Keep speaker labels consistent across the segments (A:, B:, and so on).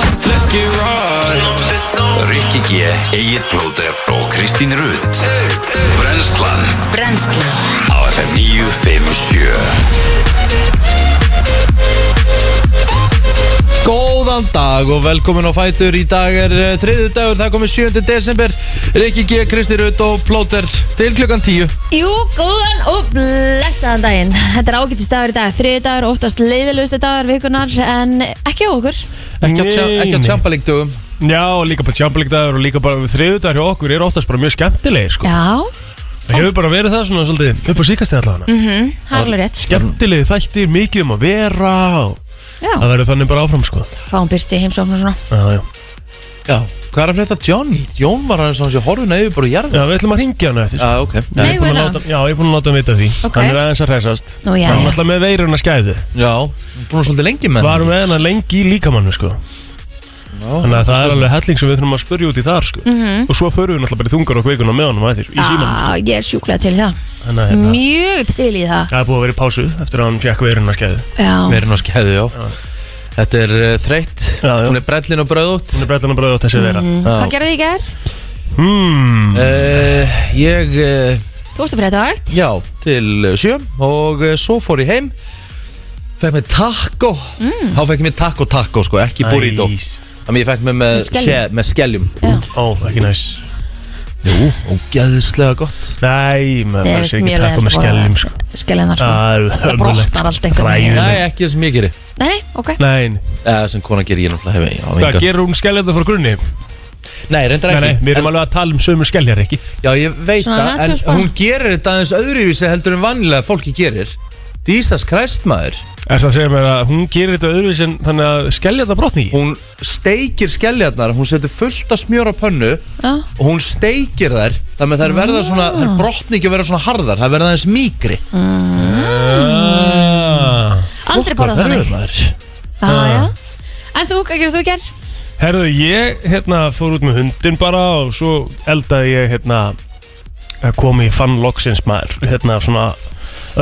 A: Let's get right
B: Rikki G, Egil Blóter og Kristín Rutt Brenslan
C: Brennslan
B: á FM 957
D: Góðan dag og velkomin á Fætur Í dag er uh, þriðu dagur, það er komið 7. desember Rikki G, Kristi Rutt og Plóter Til klukkan 10
C: Jú, góðan og blessaðan daginn Þetta er ágættist dagur í dag Þriði dagur, oftast leiðilegustu dagur vikunar En ekki á okkur
D: Ekki á, tja,
E: Nei,
D: ekki á
E: nei.
D: tjampalíkdugum
E: Já, og líka bara tjámbalikdagur og líka bara þriðudagur hjá okkur er oftast bara mjög skemmtilegir sko.
C: Já,
E: Það hefur bara verið það svona svolítið upp á síkastíð allavega
C: Mhm.
E: mm.
C: það er alveg rétt
E: Skemmtilegi þættir, mikið um að vera og það
C: Já,
E: verður þannig bara áfram sko
C: fáum byrti heimsókn og svona
E: Já, já.
D: Já, hvað er að frétta Johnny? Jón var aðeins hans í horfuna yfir bara
E: já,
D: jarðin
E: við ætlum að ringja hana eftir
D: Já, ok
E: Já,
D: Já,
E: ég er búinn að
C: Eigum við
E: láta- já, ég er búin að láta hann vita af því
C: Ok.
E: Hann er aðeins að hræsast
C: Nú, já,
E: Hann er
C: já.
E: alltaf með veiruna skæðu
D: já búin svolítið lengi með
E: Varum við hennar lengi í líkamannu sko
D: hann
E: Þannig að það er alveg helling sem við þurfum að spurja út í þar sko Og svo förum við náttúrulega bara í þungar og kveikuna með honum að þér Í símanum
C: Mhm.
E: sko
C: Já, ég er sjúklega til í það
E: Þannig að hérna,
C: Mjög til í það
E: það er búið að vera í pásu eftir að hann fekk veiruna skæðu
C: Já,
D: Við erum á skæðu, já Þetta er uh, þreytt
E: Já, já.
D: Hún er brellin og bröðótt
E: Hún er brellan að bröða á þessi veira
C: hvað gerði ég gær?
E: Hmm,
D: uh, Ég, uh,
C: Þú varst að frétta átt
D: já, til uh, sjö Og uh, svo fór ég heim Fekk mér taco Þá fekk ég mér taco taco, sko, ekki burrito
E: Nice.
D: Þannig ég fekk mér með,
C: Með skeljum.
D: sé, með skeljum
E: Ó, ekki næs
D: Jú, og geðislega gott
E: Nei, maður verður sér ekki takk með skellim sko.
C: Skellinnar sko
E: Það er
C: Það brotnar allt einhvern veginn.
E: Ræðilegt.
D: Nei, ekki það sem ég geri
C: Nei, nei, ok
E: Nei,
D: Eða Eh, sem konan gerir ég náttúrulega hef ég á
E: hvað
D: engan-
E: gerir hún skelljandi frá grunni?
D: Nei, reyndar
E: Nei,
D: ekki
E: nei, við erum alveg að tala um sömu skelljar ekki
D: Já, ég veit
C: Svona
D: það, en
C: nachos bara.
D: hún gerir þetta aðeins öðruvísi heldur en vanlega fólki gerir Jesus Christ maður
E: Er það að segja mér að hún gerir þetta öðruvísi en þannig að skelljarnar brotni ekki?
D: Hún steikir skeljarnar, hún setur fullt af smjör á pönnu
C: Já.
D: og hún steikir þær þannig að þær verða svona,
C: Ah.
D: þær brotni ekki að vera svona harðar þær verða aðeins mýkri
E: Ah.
C: Aldrei
D: Flokkar
C: borðað þannig
D: þarfir, maður.
C: Já, já En þú, hvað gerði þú gær?
E: Herðu, ég hérna fór út með hundin bara og svo eldaði ég hérna að komi í fann loksins maður hérna svona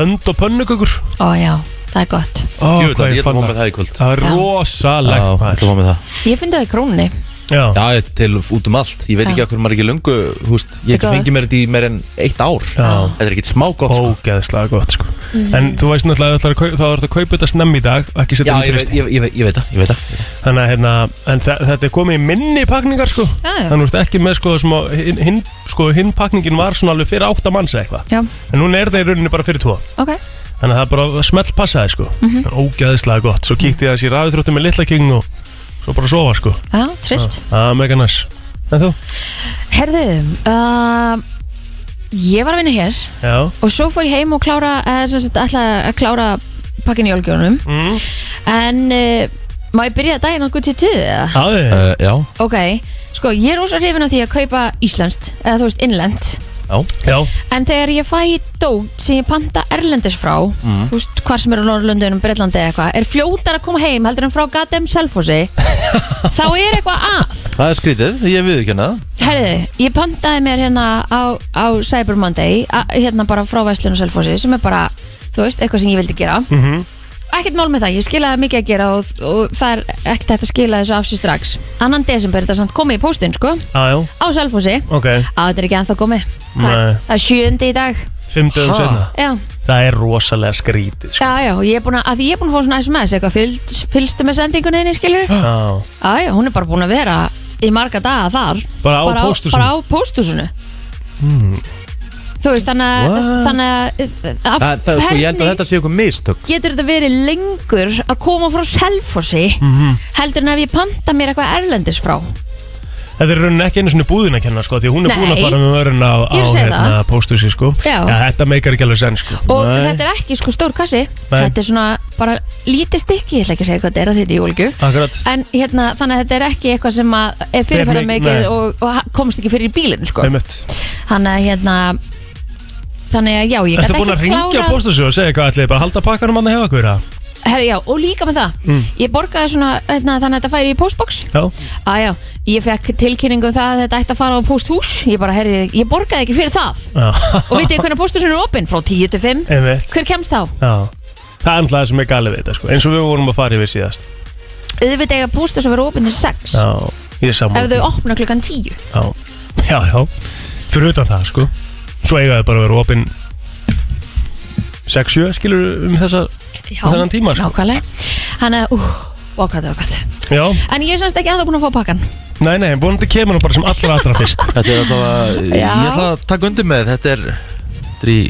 E: önd og pönnukökur
C: Ó já, það er gott
E: oh,
D: Jú, það, ég ætla að fá með það í kvöld Já,
E: Það er
C: Já.
E: rosalegt
D: ég ætla að
E: maður
D: fá með það
C: Ég finn það í krónni
E: Já,
D: Já, þetta er til út um allt Ég veit
C: Já.
D: ekki að hverju maður er ekki lungu húst, Ég hef
C: Þetta
D: ekki
C: er
D: fengið
C: gott.
D: mér þetta í meir en eitt ár
E: Já.
D: Þetta er ekkit smá gott sko.
E: ógeðslega gott sko En þú veist náttúrulega að þú ætlar að kaup- þá ertu að kaupa þetta snemm í dag og ekki
D: Já,
E: setja
D: ég
E: um
D: veit,
E: kristi
D: ég, ég, veit, ég veit það, ég veit það
E: Þannig að hérna, en þe- þetta er komið í minni pakningar sko
C: Já, já.
E: Þannig að þú ert ekki með sko, smá, hinn, hinn, sko hinn pakningin var svona alveg fyrir átta manns eða eitthvað
C: Já,
E: En núna er það í rauninni bara fyrir tvo
C: ok
E: Þannig að það er bara smelt passaði sko En Ógæðislega gott, svo kíkti ég að þessi rafið þróttum með litla king og svo bara sofa sko
C: Já, trist
E: Það er mega næs En þú?
C: Herðu, uh, ég var að vinna hér
E: Já
C: og svo fór ég heim og klára eða sem sagt ætla að klára pakkin í olgjónum
E: mm.
C: en uh, má ég byrja daginn okkur til tuðu eða?
E: Aðeins
D: uh, Já,
C: Ok, sko ég er ósa hrifin af því að kaupa íslenskt eða þú veist innlend
D: já,
E: Já,
C: en þegar ég fæ dót sem ég panta erlendis frá þú veist hvar sem er á Norrlundunum, Breitlandi eða eitthvað er fljótar að koma heim heldur en frá Gadem Selfossi þá er eitthvað að
D: það er skrítið, ég við ekki hérna. hana
C: Herðu, ég pantaði mér hérna á, á Cyber Monday a, hérna bara frá Vestlun og Selfossi sem er bara, þú veist, eitthvað sem ég vildi gera
E: Mhm.
C: ekkert mál með það, ég skilaði mikið að gera og, og það er ekkert hægt að skila þessu af sér strax annan desember, þetta er samt komið í póstinn, sko
E: aðjó,
C: á Selfossi,
E: ok
C: á þetta er ekki ennþá komið það
E: Nei.
C: er, það er sjöndi í dag
E: Fimm dögum
D: Ha?
E: senna
C: já,
E: Það er rosalega skrítið sko
C: já, já, og ég er búin að, að því ég er búin að fá svona SMS, eitthvað fylgst, fylgstu með sendingunni henni, skilur
E: Já
C: já, já, hún er bara búin að vera í marga daga þar
E: Bara á pósthúsinu?
C: bara á pósthúsinu þú veist þannig að
D: What?
C: þannig að af
D: Það, það, sko, ég held að
C: hvernig
D: þetta sé eitthvað mistök
C: getur þetta verið lengur að koma frá Selfossi
D: Mhm.
C: heldur en ef ég panta mér eitthvað erlendis frá
E: Þetta er í rauninni ekki einu svona búðin að kenna sko Því hún er
C: Nei.
E: búin að fara með vörun á, á
C: Ég er að segja
E: hérna, póstusi sko
C: Já.
E: Þetta meikar ekki alveg senn sko
C: og
D: Nei.
C: þetta er ekki sko stór kassi
E: Nei.
C: þetta er svona bara lítið stykki ég ætla ekki að segja hvað þetta er að þetta er jólgjöf
E: Akkurat
C: en hérna þannig að þetta er ekki eitthvað sem að er fyrirferðar
E: Nei.
C: og, og ha- komst ekki fyrir í bílinn sko
E: Einmitt.
C: þannig að hérna þannig að já, ég
E: Ertu
C: gæti
E: búin að
C: ekki
E: ringja
C: klárað- póst...
E: póstusi og segja hvað ætli bara að halda pakkanum hann hefa hverja?
C: já, og líka með það
E: Mm.
C: ég borgaði svona, hérna, þannig að þetta færi í postbox
E: Ah, Já,
C: aðja, ég fekk tilkynningu um það að þetta ætti að fara á posthús ég bara, herði, ég borgaði ekki fyrir það
E: já
C: og vitið þið hvernig posthúsin er opinn frá 10 til 5
E: Einmitt,
C: hver kemst þá?
E: já Það er alltaf það sem er galið við þetta sko, eins og við vorum að fara yfir síðast
C: auðvitað eiga bústu sem verður opinn til 6
E: Já, ég er saman
C: ef þau opna klukkan 10
E: já. já, já, fyrir utan það sko Svo eiga þau bara að vera opinn 6-7 skilur um þessa
C: Já,
E: þennan tíma sko
C: nákvæmlega Þannig að, úh, okkvæmt, okkvæmt
E: Já,
C: En ég er semst ekki ennþá búin að fá pakkan
E: nei, nei, vonandi kemur hún bara sem allra allra fyrst
D: Þetta er alltaf að, ég
C: Já.
D: ætla að taka undir með Þetta er, þetta er í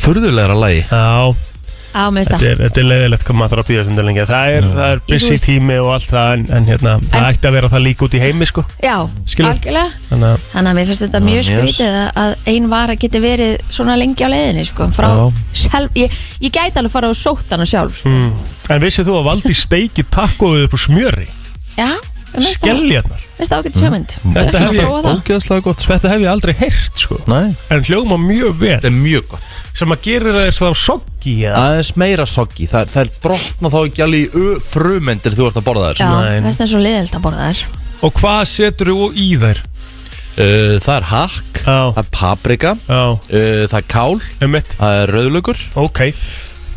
D: förðulegra lagi
E: Já,
C: Á, með
E: þetta
C: þetta
E: er, þetta er leiðilegt hvað maður þarf að býða þessum lengi það er, það er busy
C: veist-
E: tími og allt það en, en hérna, það ætti að vera það líka út í heimi sko
C: Já,
E: Skilur.
C: algjörlega
E: þannig að,
C: Þannig að mér finnst þetta mjög
D: Já, yes.
C: skrítið að- að ein vara geti verið svona lengi á leiðinni sko, frá
D: Já.
C: sjálf, ég, ég gæti alveg fara og sótt hana sjálf sko.
E: mm, en vissið þú að valdi steiki takkóðu upp úr smjöri
C: Já, mér finnst það-
E: skeljarnar,
C: mér finnst það ágætt
D: Mm.
C: sjömynd
E: Þetta
C: Þetta
E: hef ég-
C: prófa það
D: Ógeðslega gott sko.
E: þetta hef ég aldrei heyrt sko
D: Nei,
E: en hljóma mjög vel
D: þetta er mjög gott
E: sem að gera það er það soggi eða
D: Aðeins meira soggi, það, það er brotna þá ekki alveg í ö- frumendir þú ert að borða þær
C: Já,
D: sko.
E: Nei.
C: mér finnst það svo leiðilt að borða þær
E: og hvað setur þú í þær
D: uh, Það er hakk,
E: Já.
D: það er paprika
E: já,
D: uh, Það er kál,
E: um mitt,
D: það er rauðlaugur
E: ok,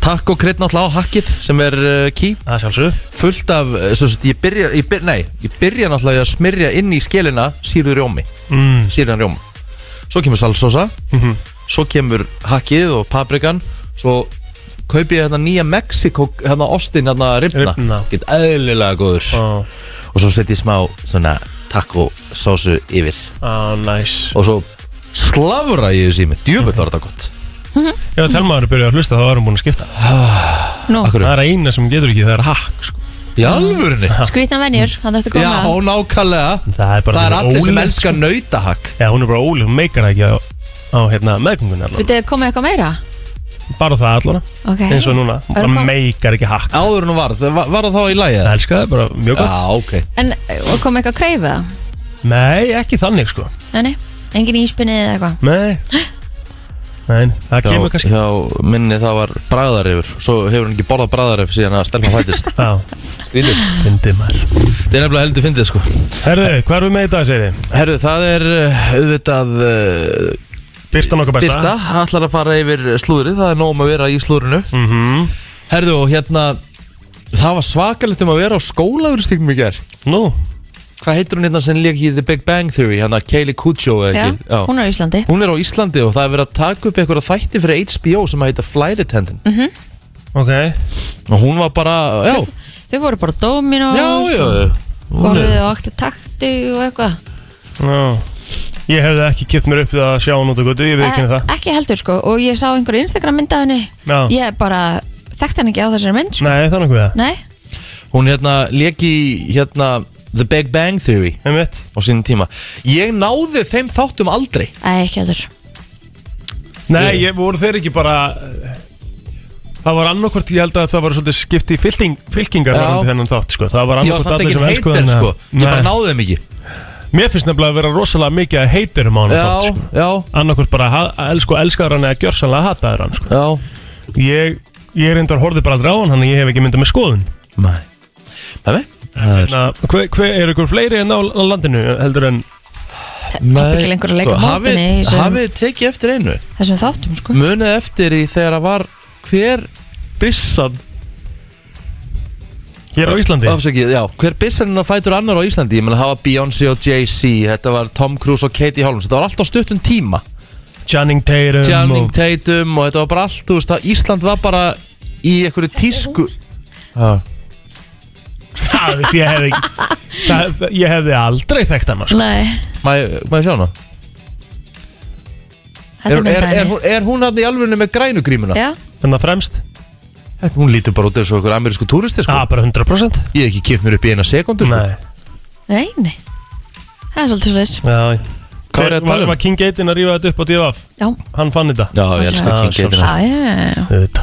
D: Takk og krydd náttúrulega á hakkið sem er uh, ký
E: það er sjálfsög
D: Fullt af, uh, svo sem sagt, ég byrja, ég byrja, nei, ég byrja náttúrulega að smyrja inn í skilina síður rjómi
E: mm,
D: síðan rjóma svo kemur salsósa svo kemur hakkið og paprikan svo kaupi ég hérna nýja Mexiko hérna ostin hérna
E: Rifna.
D: ribna get eðlilega góður
E: á,
D: og svo setjum ég smá svona taco sósu yfir
E: á, nice
D: og svo slavra ég þessi með djöfull var þetta gott
E: ef að telmaður byrja að hlusta þá erum búin að skipta
C: Nú,
D: Akkur,
E: það er eina sem getur ekki, það er hakk sko.
D: í alvörinni
C: skrítan venjur, þannig að þetta
D: já,
C: koma
D: nákvæmlega
E: það er Sko bara sko.
D: það er allir sem
E: ólensk-
D: elskar nautahakk
E: Já, hún er bara óli, hún meikar það ekki á, á hérna, meðgöngunni allan.
C: Vitið, komið eitthvað meira?
E: Bara það allan,
C: Ok,
E: eins og núna.
C: Er
E: Hún
C: það-
E: meikar ekki hakk.
D: áður en hún var, það var, var það þá í lagi
E: Það
D: eða?
E: elska það, bara mjög
D: já,
E: gott.
D: ok
C: en og komið eitthvað að kreyfa það?
E: Nei, ekki þannig sko.
C: Nei, nei, engin íspinni eða eitthvað
E: Nei. Nei, það
D: hjá,
E: kemur kannski.
D: hjá minni það var bræðarifur svo hefur hann ekki borðað bræðarif síðan að stelpa fætist
E: Já,
D: skrýðist
E: fyndið maður.
D: þetta er nefnilega heldur fyndið sko
E: Herðu, hvað erum við með í dag, segir þið?
D: herru það er
E: eh,
D: uh, auðvitað uh,
E: Byrta nokkuð besta.
D: Birta ætlar að fara yfir slúðrið það er nóg um að vera í slúðrinu
E: Mm
D: herru og hérna það var svakalegt um að vera á skólaveristíkum í ger
E: Nú,
D: hvað heitir hún hérna sem leik í The Big Bang Theory hérna Kaylee Cuccio eða
C: Já,
D: ekki Já.
C: hún er á Íslandi
D: hún er á Íslandi og það er verið að taka upp eitthvað þætti fyrir HBO sem að heita Flight Attendant
C: Mhm.
E: ok.
D: og hún var bara, já,
C: Þau fóru bara á Dominos
D: já, já, já. Hún er-
C: Borðuðu og aktu taktu og eitthvað
E: Já. Ég hefði ekki kipt mér upp það að sjá hún út og guttu, ég veit ekki
C: Eh,
E: það.
C: Ekki heldur sko Og ég sá einhverju Instagram mynd af henni
E: Já.
C: Ég bara þekkti hann ekki á þessari mynd sko.
E: Nei, það er nokkuð það.
C: Nei,
D: Hún hérna leki hérna The Big Bang Theory
E: Einmitt.
D: á sínum tíma Ég náði þeim þáttum aldrei
C: Æ, ekki heldur
E: Nei, ég, voru þeir ekki bara eh, Það var annarkvort, ég held að það var svolítið skipt í fylking, fylkingar
D: Já.
E: varðandi þennan þátt sko. Það
D: Ég
E: var
D: var
E: annarkvort
D: samt
E: allir
D: ekki
E: sem elskuðu
D: heitir
E: hana.
D: sko Ég bara
E: Nei.
D: náði þeim ekki
E: Mér finnst nefnilega að vera rosalega mikið að heitir um á hann
D: Já,
E: þátt sko.
D: já,
E: Annarkvort bara ha- elsku elskaður hann eða gjörsanlega hataður hann sko.
D: já
E: Ég, ég reyndar horfði bara aldrei á hann Þannig að ég hef ekki myndað með skoðun
D: Nei Nei, nei
E: Na, hver, hver er ykkur fleiri en á á landinu heldur en
C: átti ekki lengur að leika á
D: Sko, hafið-
C: mótinu í þessum-
D: Hafið þið tekið eftir einu
C: Þessum þáttum sko
D: Munið eftir því þegar að var Hver byssan
E: hér á Íslandi
D: Afsakið, já Hver byssan á fætur annar á Íslandi Ég meina það var Beyoncé og Jay-Z Þetta var Tom Cruise og Katie Holmes Þetta var allt á stuttum tíma
E: Channing Tatum
D: Channing
E: Um, og,
D: Tatum og þetta var bara allt, þú veist, það Ísland var bara í einhverju tísku Já,
E: ha, þú veist, ég, hefði, ekki- það, það- ég hefði aldrei þekkt hann sko.
C: Nei,
D: maður maður sjá hana Er,
C: þetta er
D: er,
C: mynd
D: er,
C: af henni
D: hún, er hún hann í alvörinu með grænugrímuna?
C: Já,
E: Þannig að Hérna fremst,
D: Þetta, hún lítur bara út eins og einhver amerísku túristi, sko
E: að bara 100%
D: Ég hef ekki kipt mér upp í eina sekundu, sko
E: Nei
C: nei, nei Það er svolítið svolítið
E: Já,
D: Hvað er
E: Hver-
D: það að tala
E: Var,
D: um?
E: var King Gaten að rífa þetta upp á divaf?
C: Já,
E: Hann fann þetta
D: Já, ég elska
E: Já,
D: King
E: sjálfsagt.
D: Gaten
C: já, já, já, já.
E: Þetta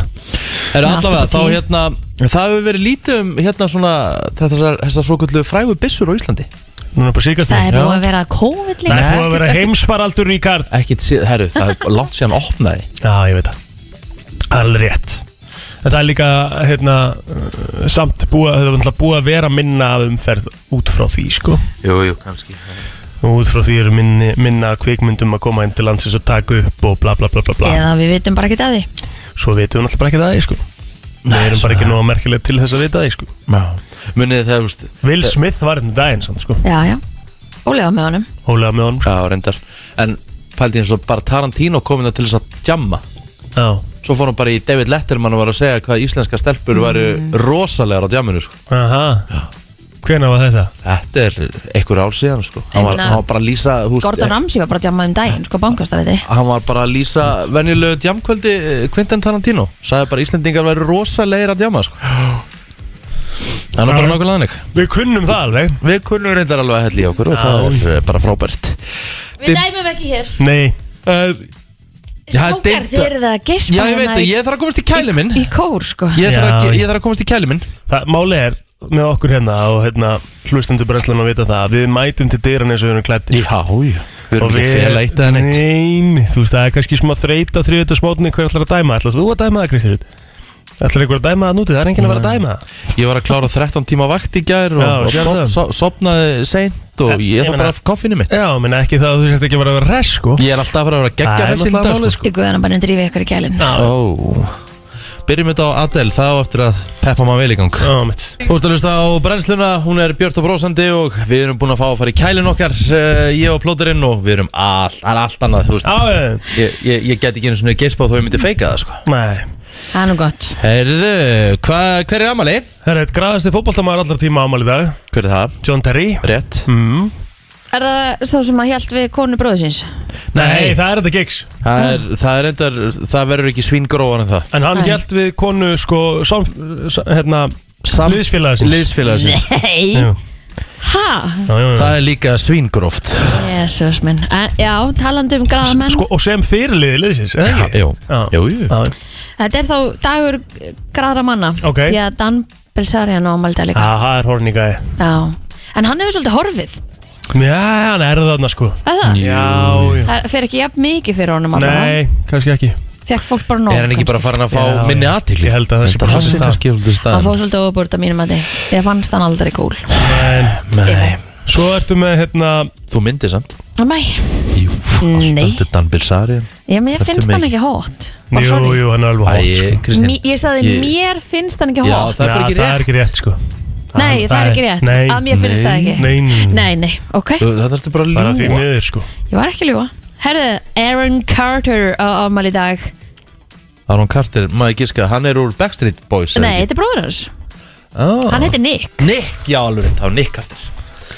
D: Er
C: Alltaf
D: allavega,
C: bara
D: þá
C: tíu.
D: hérna Það hefur verið lítið um hérna svona Þessar, þessar svo kvöldu frægu byssur á Íslandi
E: Núna bara síkast
C: Það er
E: Já.
C: búið að vera COVID
E: Það
C: líka
E: er búið að
D: Nei,
E: vera
D: ekkert-
E: heimsfaraldur í karð
D: Ekkit síð, herru, það er langt síðan opnaði
E: Já, ég veit það Það er alveg rétt En það er líka, hérna, uh, samt búið, það er náttúrulega búið að vera minna af umferð út frá því, sko
D: Jú, jú, kannski
E: Og út frá því eru minni, minna kvikmyndum að koma inn til landsins og taka upp og bla bla bla bla bla
C: Eða við vitum bara ekki að því
E: Svo veitum við náttúrulega bara ekki það, sko Við erum bara ekki nóga merkileg til þess að vita það, sko
D: Já munið það, þú veist
E: Will Smith var hérna um daginn samt, sko.
C: Já, já, ólega með honum
E: Ólega með honum sko.
D: Já, reyndar En pældi eins og bara Tarantino kom það til þess að djamma
E: Já,
D: Svo fór hann bara í David Letterman og var að segja hvað íslenska stelpur
C: Mm.
D: væru rosalegar á djamminu sko.
E: aha Hvenær var þetta?
D: Þetta er einhver ár síðan sko. hann, var,
C: meina-
D: hann var bara að lýsa húst,
C: Hérna, Gordon Ramsay var bara að djama um daginn, sko, bankastræti
D: Hann var bara að lýsa venjulegu djamkvöldi eh, Quentin Tarantino Sæði bara Íslendingar væru rosalegir að djamma sko. Hann var bara
E: Já.
D: nákvæmlega þannig
E: Við kunnum það alveg
D: Við kunnum reyndar alveg að hella í okkur og það
E: Já.
D: er eh, bara frábært
C: Við dæmum um ekki hér
E: Nei,
D: uh, Já,
C: Strákar,
D: deilda-
C: þeir eru það að gespa
D: Já, ég veit
C: hérna
D: það,
C: í-
D: ég þarf að komast í kæli minn
C: Í kór, sko
D: Ég þarf,
E: Já,
D: að,
E: já.
D: ég þarf að komast í kæli minn
E: það, máli er með okkur hérna og hérna hlustendur brennslan að vita það að Við mætum til dyran eins og við erum klættir
D: Já, já Við erum ekki að fela eitt eða neitt
E: Nein, þú veist, það er kannski smá þreyt á þriðvita smótni Hver ætlar að dæma? Ætlar þú að dæma það, Kristur? Ætlar einhver að dæma það núti? Það er enginn að vera að dæma það
D: Ég var að klára 13 tíma vakt í gær og,
E: Já,
D: og
E: sérðu
D: sof,
E: það.
D: so, sopnaði seint og
E: Eh,
D: ég
E: ég
D: þarf
E: meina-
D: bara að koffinu mitt
E: Já, menn ekki það að þú sérst ekki að vera að vera res, sko
D: Ég er alltaf að fara að vera
E: Það
D: geggja
E: er
D: þessi í
E: náttúrulega
D: dag
E: málið,
D: sko.
E: sko.
C: Í guðan að bara drífi ykkur í kælinn
E: Já,
D: Ó Byrjum þetta á Adele, það á eftir að peppa maður vel í gang
E: já, sko. mitt
D: Þú ert að hlusta á brennsluna, hún er Björn og Brósandi og við erum búin að fá að fara í kælin okkar eh, Ég og plóterinn og við erum all, all, allt annað þú veist.
E: Já, eh,
D: Ég, ég, ég get ekki einu svona geispa þó ég myndi feika það sko.
E: nei
C: Það er nú gott
D: Heyrðu, hva, hver er amali?
E: Herra, eitt graðasti fótboltamæður allar tíma ámali í dag
D: Hver er það?
E: John Terry
D: Rétt
E: mm.
C: Er það svo sem að hjælt við konu bróðsins?
E: Nei, það er þetta gigs
D: það er, það er endar, það verður ekki svíngróan en það
E: En hann
C: Nei.
E: hjælt við konu, sko, sam, sam, hérna,
D: Sam-
E: liðsfélagsins
D: Liðsfélagsins
C: Nei
E: Já,
C: Hæ?
E: já, já, já.
D: Það er líka svíngróft
C: Jésús minn En, Já, talandi um gráða menn
E: Sko, og sem fyrirliði liðsins, eða ekki?
D: Jú,
E: Já.
D: jú, jú
E: Já,
C: Þetta er þá dagur gráðra manna
E: Ok.
C: Því að Dan Belsarian á Malda líka
E: Já, það er horni gæði
C: Já En hann hefur svolítið horfið
E: Já, hann er þarna, sko
C: Er það?
E: Já, já
C: Það fer ekki jafn mikið fyrir honum allavega
E: Nei, kannski ekki
C: Fekk fólk bara nóg
D: Er hann ekki bara farin að fá
E: Já,
D: minni
E: já.
D: aðtíkli?
E: Ég held að það sé bara
D: það
E: svolítið
D: sé kannski svolítið
C: Hann
D: staðan
C: fóð svolítið ofurburð að mínum að þið Ég fannst hann aldrei cool
D: Nei,
E: Svo ertu með, hérna,
D: þú myndir samt
C: Nei,
D: Jú,
C: Nei.
D: alltaf Dan Bilsarian
C: já, menn ég
D: Ertu
C: finnst hann
D: mikið?
C: ekki hot Bara
E: jú,
C: sorry.
E: jú, hann er alveg hot,
D: Æ,
E: sko
D: Kristín
C: Mí- Ég sagði,
D: Ég-
C: mér finnst hann ekki
D: Já,
C: hot
D: það er bara ekki
E: Já, það er
D: rétt
E: ekki rétt, sko
C: Nei, það er ekki rétt
E: Nei,
C: Að mér finnst það ekki
E: nei, nei, nei.
C: Nei, nei, ok
D: Þú- Það þarfstu bara
E: Bara
D: að
E: því
D: ljúa
E: miður, sko
C: Ég var ekki að ljúa Herðu, Aaron Carter á afmæli í dag
D: Aron Carter, maður gíska, hann er úr Backstreet Boys eða
C: Nei,
D: ekki?
C: þetta er bróður hans
D: Ah.
C: Hann heitir Nick
D: Nick, já alveg rétt, þá Nick Carter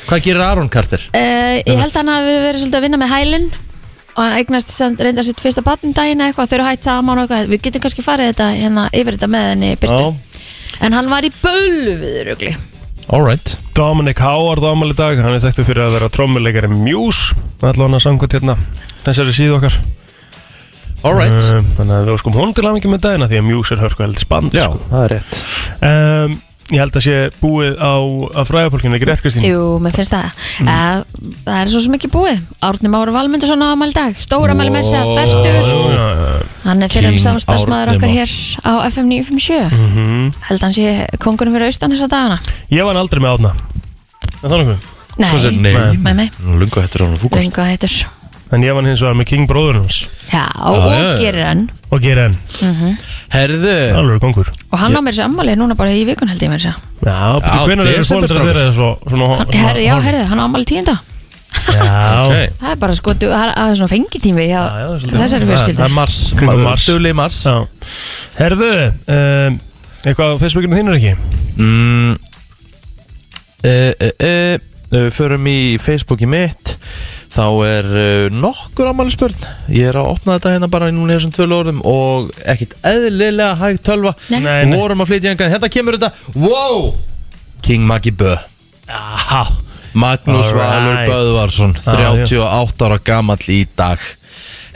D: Hvað gerir Aron Carter?
C: uh, Ég held að hann hafi verið svolítið að vinna með hælinn og eignast sem reynda sitt fyrsta batn daginn eitthvað, þau eru hætt saman og eitthvað við getum kannski farið þetta hérna yfir þetta með henni byrtu, en hann var í bölu við rugli,
D: Alright
E: Dominic Howard ámæli í dag, hann er þekktu fyrir að vera trommuleikari Muse, allan hann að samkvæmt hérna þessari síðu okkar
D: Alright
E: um, Þannig að við óskum honum til hafingi með dagina því að Muse er hörku heldur spand
D: Já,
E: sko.
D: það er rétt
E: um, Ég held að sé búið á, á fræðafólkinu, ekki rétt Kristín?
C: jú, mér finnst það uh, það er svo sem ekki búið Árni Már Valmundsson á amal dag stóra mæli með sig að færtur
E: Já, já, já.
C: hann er fyrir um
D: King
C: samstagsmaður
D: Árni
C: okkar
D: Már.
C: hér á FM 957 held hann sé kongunum fyrir austan þessa dagana
E: Ég var aldrei með átna En það er nokkuð
D: Hvað
C: nei,
D: segir-
C: með mig,
D: Nú lungu hættur hann og fúkast
C: lengu heitur
E: En ég var hins vegar með King bróður hans
C: já, og
D: já, já.
C: gerir hann
E: Og gerir enn,
D: Herðu
E: alveg kongur
C: Og hann á mér sér ammali núna bara í vikun held ég mér sér
E: Já,
D: Já,
E: betur hvenær eru
D: desember,
E: fóldrar
D: strákar.
E: þeirra svo, svona, svona,
C: Herri, já, herri, hann á ammali tíunda
E: Já,
D: Ok.
C: Það er bara sko, du- það er aðeins svona fengitími hjá
E: Já, já, það er svolítið-
C: þessari
D: Það það
C: fjölskyldu
D: er mars
E: Kringum mars.
D: Dugli mars
E: já Herðu, um, eitthvað á Facebookinu þínu er ekki?
D: Mm, e, e, e, Ef við förum í Facebooki mitt Þá er uh, nokkur ammali spörn Ég er að opna þetta hérna bara núna í þessum tölu orðum Og ekkit eðlilega hægt tölva
C: Nei.
E: Nei, nei.
D: Vorum að flytja engan Hérna kemur þetta Wow King Maggi Bö
E: Já,
D: Magnús
E: Alright.
D: Valur Böðvarsson
E: Ah,
D: 38 ára gamall í dag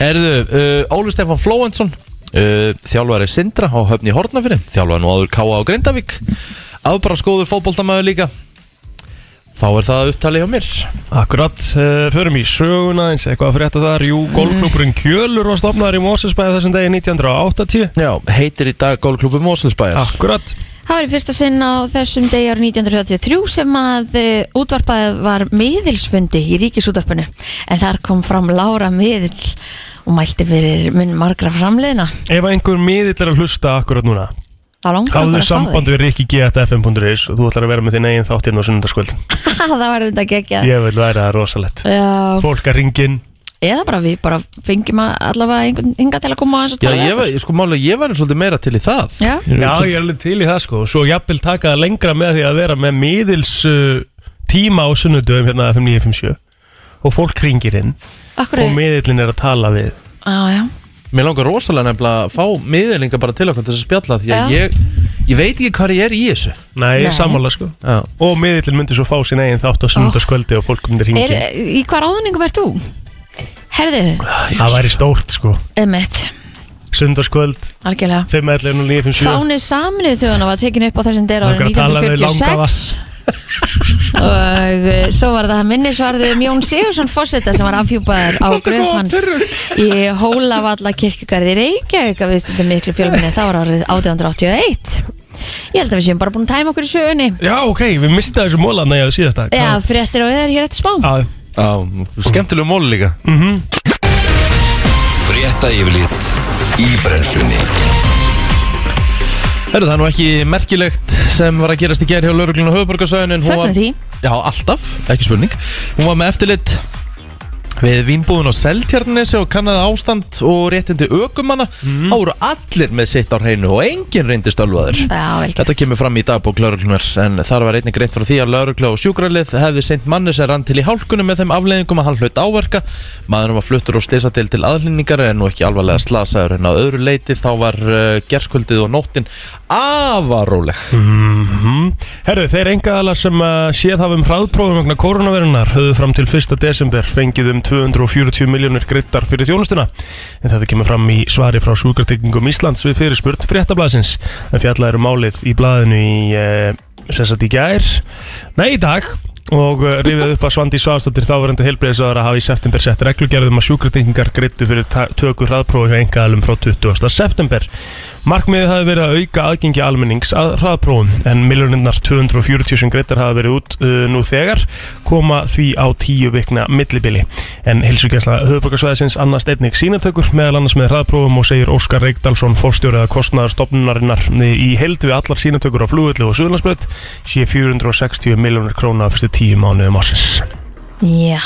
D: Herðu, uh, Óli Stefán Flóensson uh, Þjálfari Sindra á höfni Hortnafyrir Þjálfari nú áður K.A. á Grindavík Afbara skóður fótboltamæður líka Þá er það upptalið hjá mér
E: akkurat, uh, förum í söguna eins, eitthvað að frétta þar Jú, golfklúpurinn Kjölur var stopnaður í Mósinsbæði þessum degi 1980
D: Já, heitir í dag gólklubur Moselsbæjar
E: Akkurat,
C: Það var í fyrsta sinn á þessum degi árið 1933 sem að eh, útvarpað var miðilsfundi í ríkisútvarpinu En þar kom fram Lára miðil og mælti fyrir mun margra framleiðina
E: ef einhver miðill er að hlusta akkurat núna
C: Þá langar
E: Háðu
C: okkur að fá
E: samband
C: þig
E: við rikkig.fm.is og þú ætlar að vera með þinn eigin þátt hérna á sunnundaskvöld
C: Það var reynda að gegja
E: Ég vil væri það rosalett
C: Já,
E: Fólk að ringin
C: eða bara við bara fengjum að allavega einhvern hinga til að koma aðeins og
D: Já,
C: tala
D: ég, var- sko málega, ég væri svolítið meira til í það
C: Já,
E: Já, ég er alveg til í það sko Svo jafnvel taka það lengra með því að vera með miðils uh, tíma á sunnudöfum hérna 5957 og fólk ringir inn
C: akkur
E: og miðillin er að tala við
C: Já, já,
D: Mér langar rosalega nefnilega að fá miðlinga bara til okkur til þess að spjalla Því að
C: Já.
D: ég, ég veit ekki hvað ég er í þessu
E: Nei,
C: Nei.
E: Nei. sammála sko
D: Já,
E: Og miðillin myndi svo fá sín eigin þátt á sunnudagskvöldi og fólk myndi
C: er,
E: ringi
C: í hvað ráðningum ert þú? Herðu,
E: Það væri stórt sko
C: emitt,
E: Sunnudagskvöld,
C: algjörlega
E: 511 og 957
C: Fáni saminuð þjóðuna var tekin upp á þessum dyr árið
E: Langar að tala við
C: 1946
E: langafa
C: og eh, svo var það minnisvarði um Jón Sigursson Fossetta sem var afhjúpaður á Gröfmanns í Hólavalla kirkugarði Reykjavík að viðstundum miklu fjölminni það var árið 1881 ég held að við séum bara búin að tæma okkur í sögunni
E: Já, ok, við mistið þessu mólan að ég að síðast
C: Já, fréttir og eða hér eftir smá
E: Já,
D: Já skemmtilegu mól líka
B: Frétta yfirlit í brennslunni
D: Herru, það er nú ekki merkilegt sem var að gerast í gerð hjá lauruglun og höfuborgarsöðun
C: Fögnum því.
D: Já, alltaf, ekki spurning Hún var með eftirlit við vínbúðun á Seltjarnesi og kannaði ástand og réttindi ökumanna mm. áru allir með sitt á hreinu og enginn reyndist ölvaður
C: Já, vel
D: Þetta
C: gert.
D: kemur fram í dagbók lauruglunar en þar var einnig greint frá því að laurugla og sjúkralið hefði seint manni sem rann til í hálkunum með þeim afleiðingum að hann hlaut áverka maðurinn var fluttur og slisadil til aðlýningar en nú ekki alvarlega slasaður en á öðru leiti þá var uh, gerskvöldið og nóttin afaróleg
E: Herru, Mhm. þeir engaðala sem uh, séð hafa um hraðprófum vegna koronavirunar höfðu fram til 1. desember fengið um 240 miljónir grittar fyrir þjónustuna. En þetta kemur fram í svari frá Sjúkratryggingum Íslands við fyrirspurn fréttablasins. En fjallað eru málið í blaðinu í, uh, sem sagt í gær, nei í dag, og uh, rifið upp að Svandi Svastóttir þáverandi heilbreyðisáður að hafa í september sett reglugerðum að sjúkratengingar grittu fyrir ta- tökur hraðprófi hjá engaðalum frá 20. september. Markmiðið hafi verið að auka aðgengi almennings að hraðprófum en miljoninnar 240 sem greittar hafa verið út uh, nú þegar koma því á tíu vikna millibili. En hilsugjæsla höfubokarsvæðisins annast einnig sínatökur meðal annars með hraðprófum og segir Óskar Reykdalsson forstjóriða kostnaðarstofnunarinnar í held við allar sínatökur á flugullu og suðlandsbröð sé 460 miljónur króna á fyrstu tíu mánuðum ásins.
C: Já,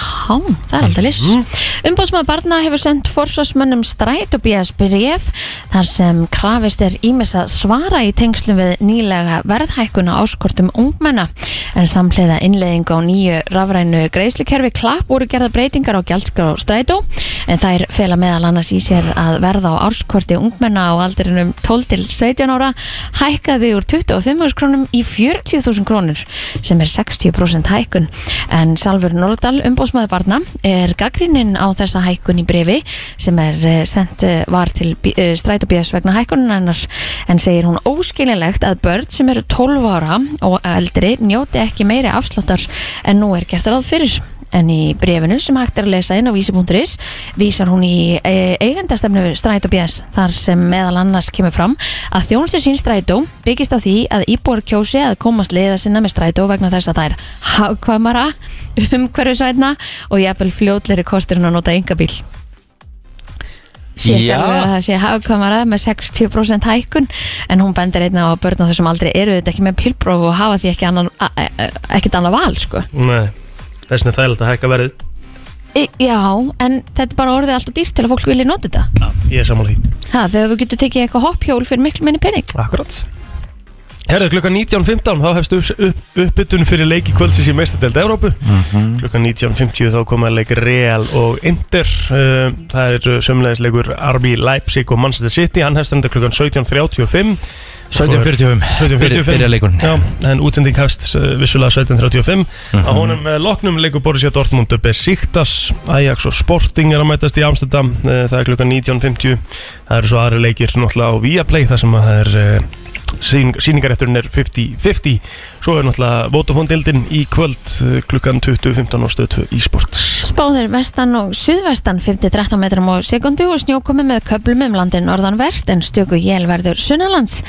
C: það er alltaf list mm. Umbóðsmaður barna hefur sendt forsvarsmönnum stræt og bíðast bref þar sem krafist er ímess að svara í tengslum við nýlega verðhækkun á áskortum ungmenna en samhliða innleðing á nýju rafrænu greiðslikerfi klapp voru gerða breytingar á gjaldskrá strætó en þær fela meðal annars í sér að verða á áskorti ungmenna á aldrinum 12 til 17 ára hækkaði úr 25.000 krónum í 40.000 krónur sem er 60% hækkun en Salfur Norðdal umbóðsmaður barna er gaggrinnin á þessa hækkun í brefi sem er eh, sent eh, var til strætóbíðas vegna hækkunin hennar en segir hún óskilinlegt að börn sem eru 12 ára og eldri njóti ekki meiri afsláttar en nú er gert ráð fyrir En í brefinu sem hægt er að lesa inn á vísi.is vísar hún í e, eigendastemnu Strætó BS þar sem meðal annars kemur fram að þjónustu sín Strætó byggist á því að íbúar kjósi að komast leiða sinna með Strætó vegna þess að það er hagkvæmara, umhverfisvætna og jafnvel fljótleri kostur en að nota engabíl. Sér
D: Já.
C: alveg að það sé hagkvæmara með 60% hækkun en hún bendir einna á að börn á þessum aldrei eru þetta ekki með pilbróf og hafa því ekki annan, a- a- a- ekkert annað val sko.
E: Nei, þessin er þægilegt að hækka verðið.
C: Í- Já, en þetta er bara orðið alltaf dýrt til að fólk vilja nota þetta.
E: Já, ég er sammála því.
C: Ha, þegar þú getur tekið eitthvað hoppjól fyrir miklu minni pening.
E: Akkurat Herðu, klukkan 19.15 þá hefst upp, upp, uppbytun fyrir leiki kvöldsins í meistardelt Evrópu
D: Mhm.
E: Klukkan 19.50 þá koma leik Real og Inter uh, Það er sömulegis leikur RB Leipzig og Manchester City Hann hefst enda klukkan 17.35
D: 1745
E: 17.45
D: Byrja leikurinn
E: Já, en útsending hefst uh, vissulega 17.35 Á honum uh, loknum leikur Borussia Dortmund upp Besiktas, Ajax og Sporting er að mætast í Amsterdam uh, Það er klukkan 19.50 Það eru svo aðri leikir náttúrulega á Viaplay þar sem að það er uh, sýn, sýningarétturinn er 50-50 eh, Svo er náttúrulega Votafondildin í kvöld uh, klukkan 20.15 á stöð 2 í sport
C: Spáðir vestan og suðvestan 5-13 metrum á sekundu og snjókomi með köplum um landin norðanvert en stöku jél verður sunnalands.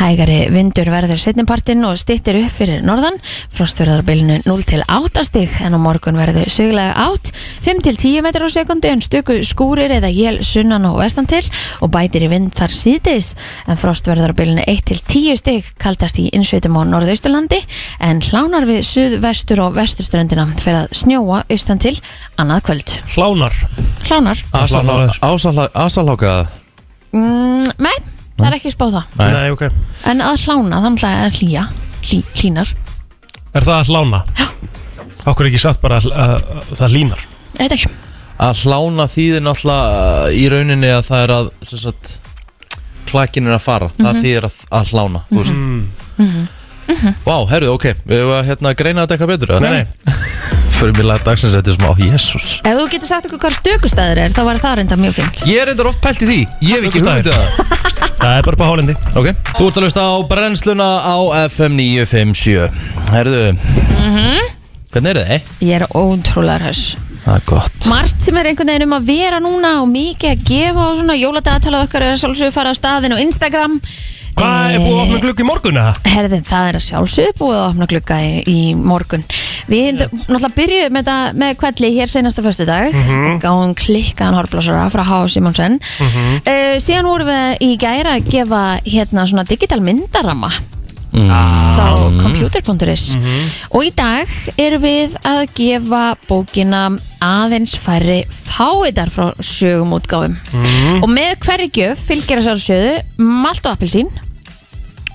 C: Hægari vindur verður setnipartinn og stittir upp fyrir norðan. Frostverðarbilinu 0-8 stig en á morgun verður sögulega átt 5-10 metrum á sekundu en stöku skúrir eða jél sunnan og vestan til og bætir í vind þar síðdeis en frostverðarbilinu 1-10 stig kaldast í innsveitum á norðausturlandi en hlánar við suðvestur og vesturströndina fyrir að snjóa austan til annað kvöld.
E: Hlánar
C: Hlánar?
D: Ah.
E: Hlánar.
D: Ásaláka
C: Mm, nei, það er ekki spáð það.
D: Nei.
E: Nei, ok
C: En að hlána, þannig að er hlýja, hlý, hlínar.
E: Er það að hlána?
C: Já.
E: Okkur ekki satt bara að, að, að það línar
C: Ég veit ekki.
D: Að hlána þýðir náttúrulega í rauninni að það er að sem sagt, klakin er að fara
C: Mhm.
D: Það þýðir að, að hlána Þú veist Vá, herruðu, ok, við hefum að hérna, greina þetta eitthvað betur eða?
E: Nei, nei,
D: Fyrir mér laga dagsins þetta er smá, jésús
C: Ef þú getur sagt okkur hvað stökustæður er, þá var það reynda mjög fint.
D: Ég er reyndar oft pælt í því, ég hef ekki
E: Stökustaður.
D: hugmyndið það
E: það er bara bara hálendi
D: Ok, þú ert að hlusta á brennsluna á FM 957 Herðu
C: Mhm.
D: Hvernig er þið? eh?
C: Ég er ótrúlega hess.
D: Það er gott
C: Margt sem er einhvern veginn um að vera núna og mikið að gefa og svona jóladagatala okkar er að sjálfsögur fara á staðin og Instagram.
E: Hvað er búið að opna glugg í morgun eða?
C: Herðin, það er að sjálfsögðu búið að opna glugga í, í morgun. Við náttúrulega byrjuðum með, þetta- með kvelli hér senasta föstu dag, mm
E: Mhm.
C: -hmm. gáum klikkaðan horflásara frá H. Simonsen. Mm
E: Mhm.
C: síðan vorum við í gæra að gefa hérna svona digital myndarama frá computer.is og í dag erum við að gefa bókina aðeins færri fáiðar frá sögum útgáfum og með hverri gjöf fylgir að sjálfsögðu malt og appelsín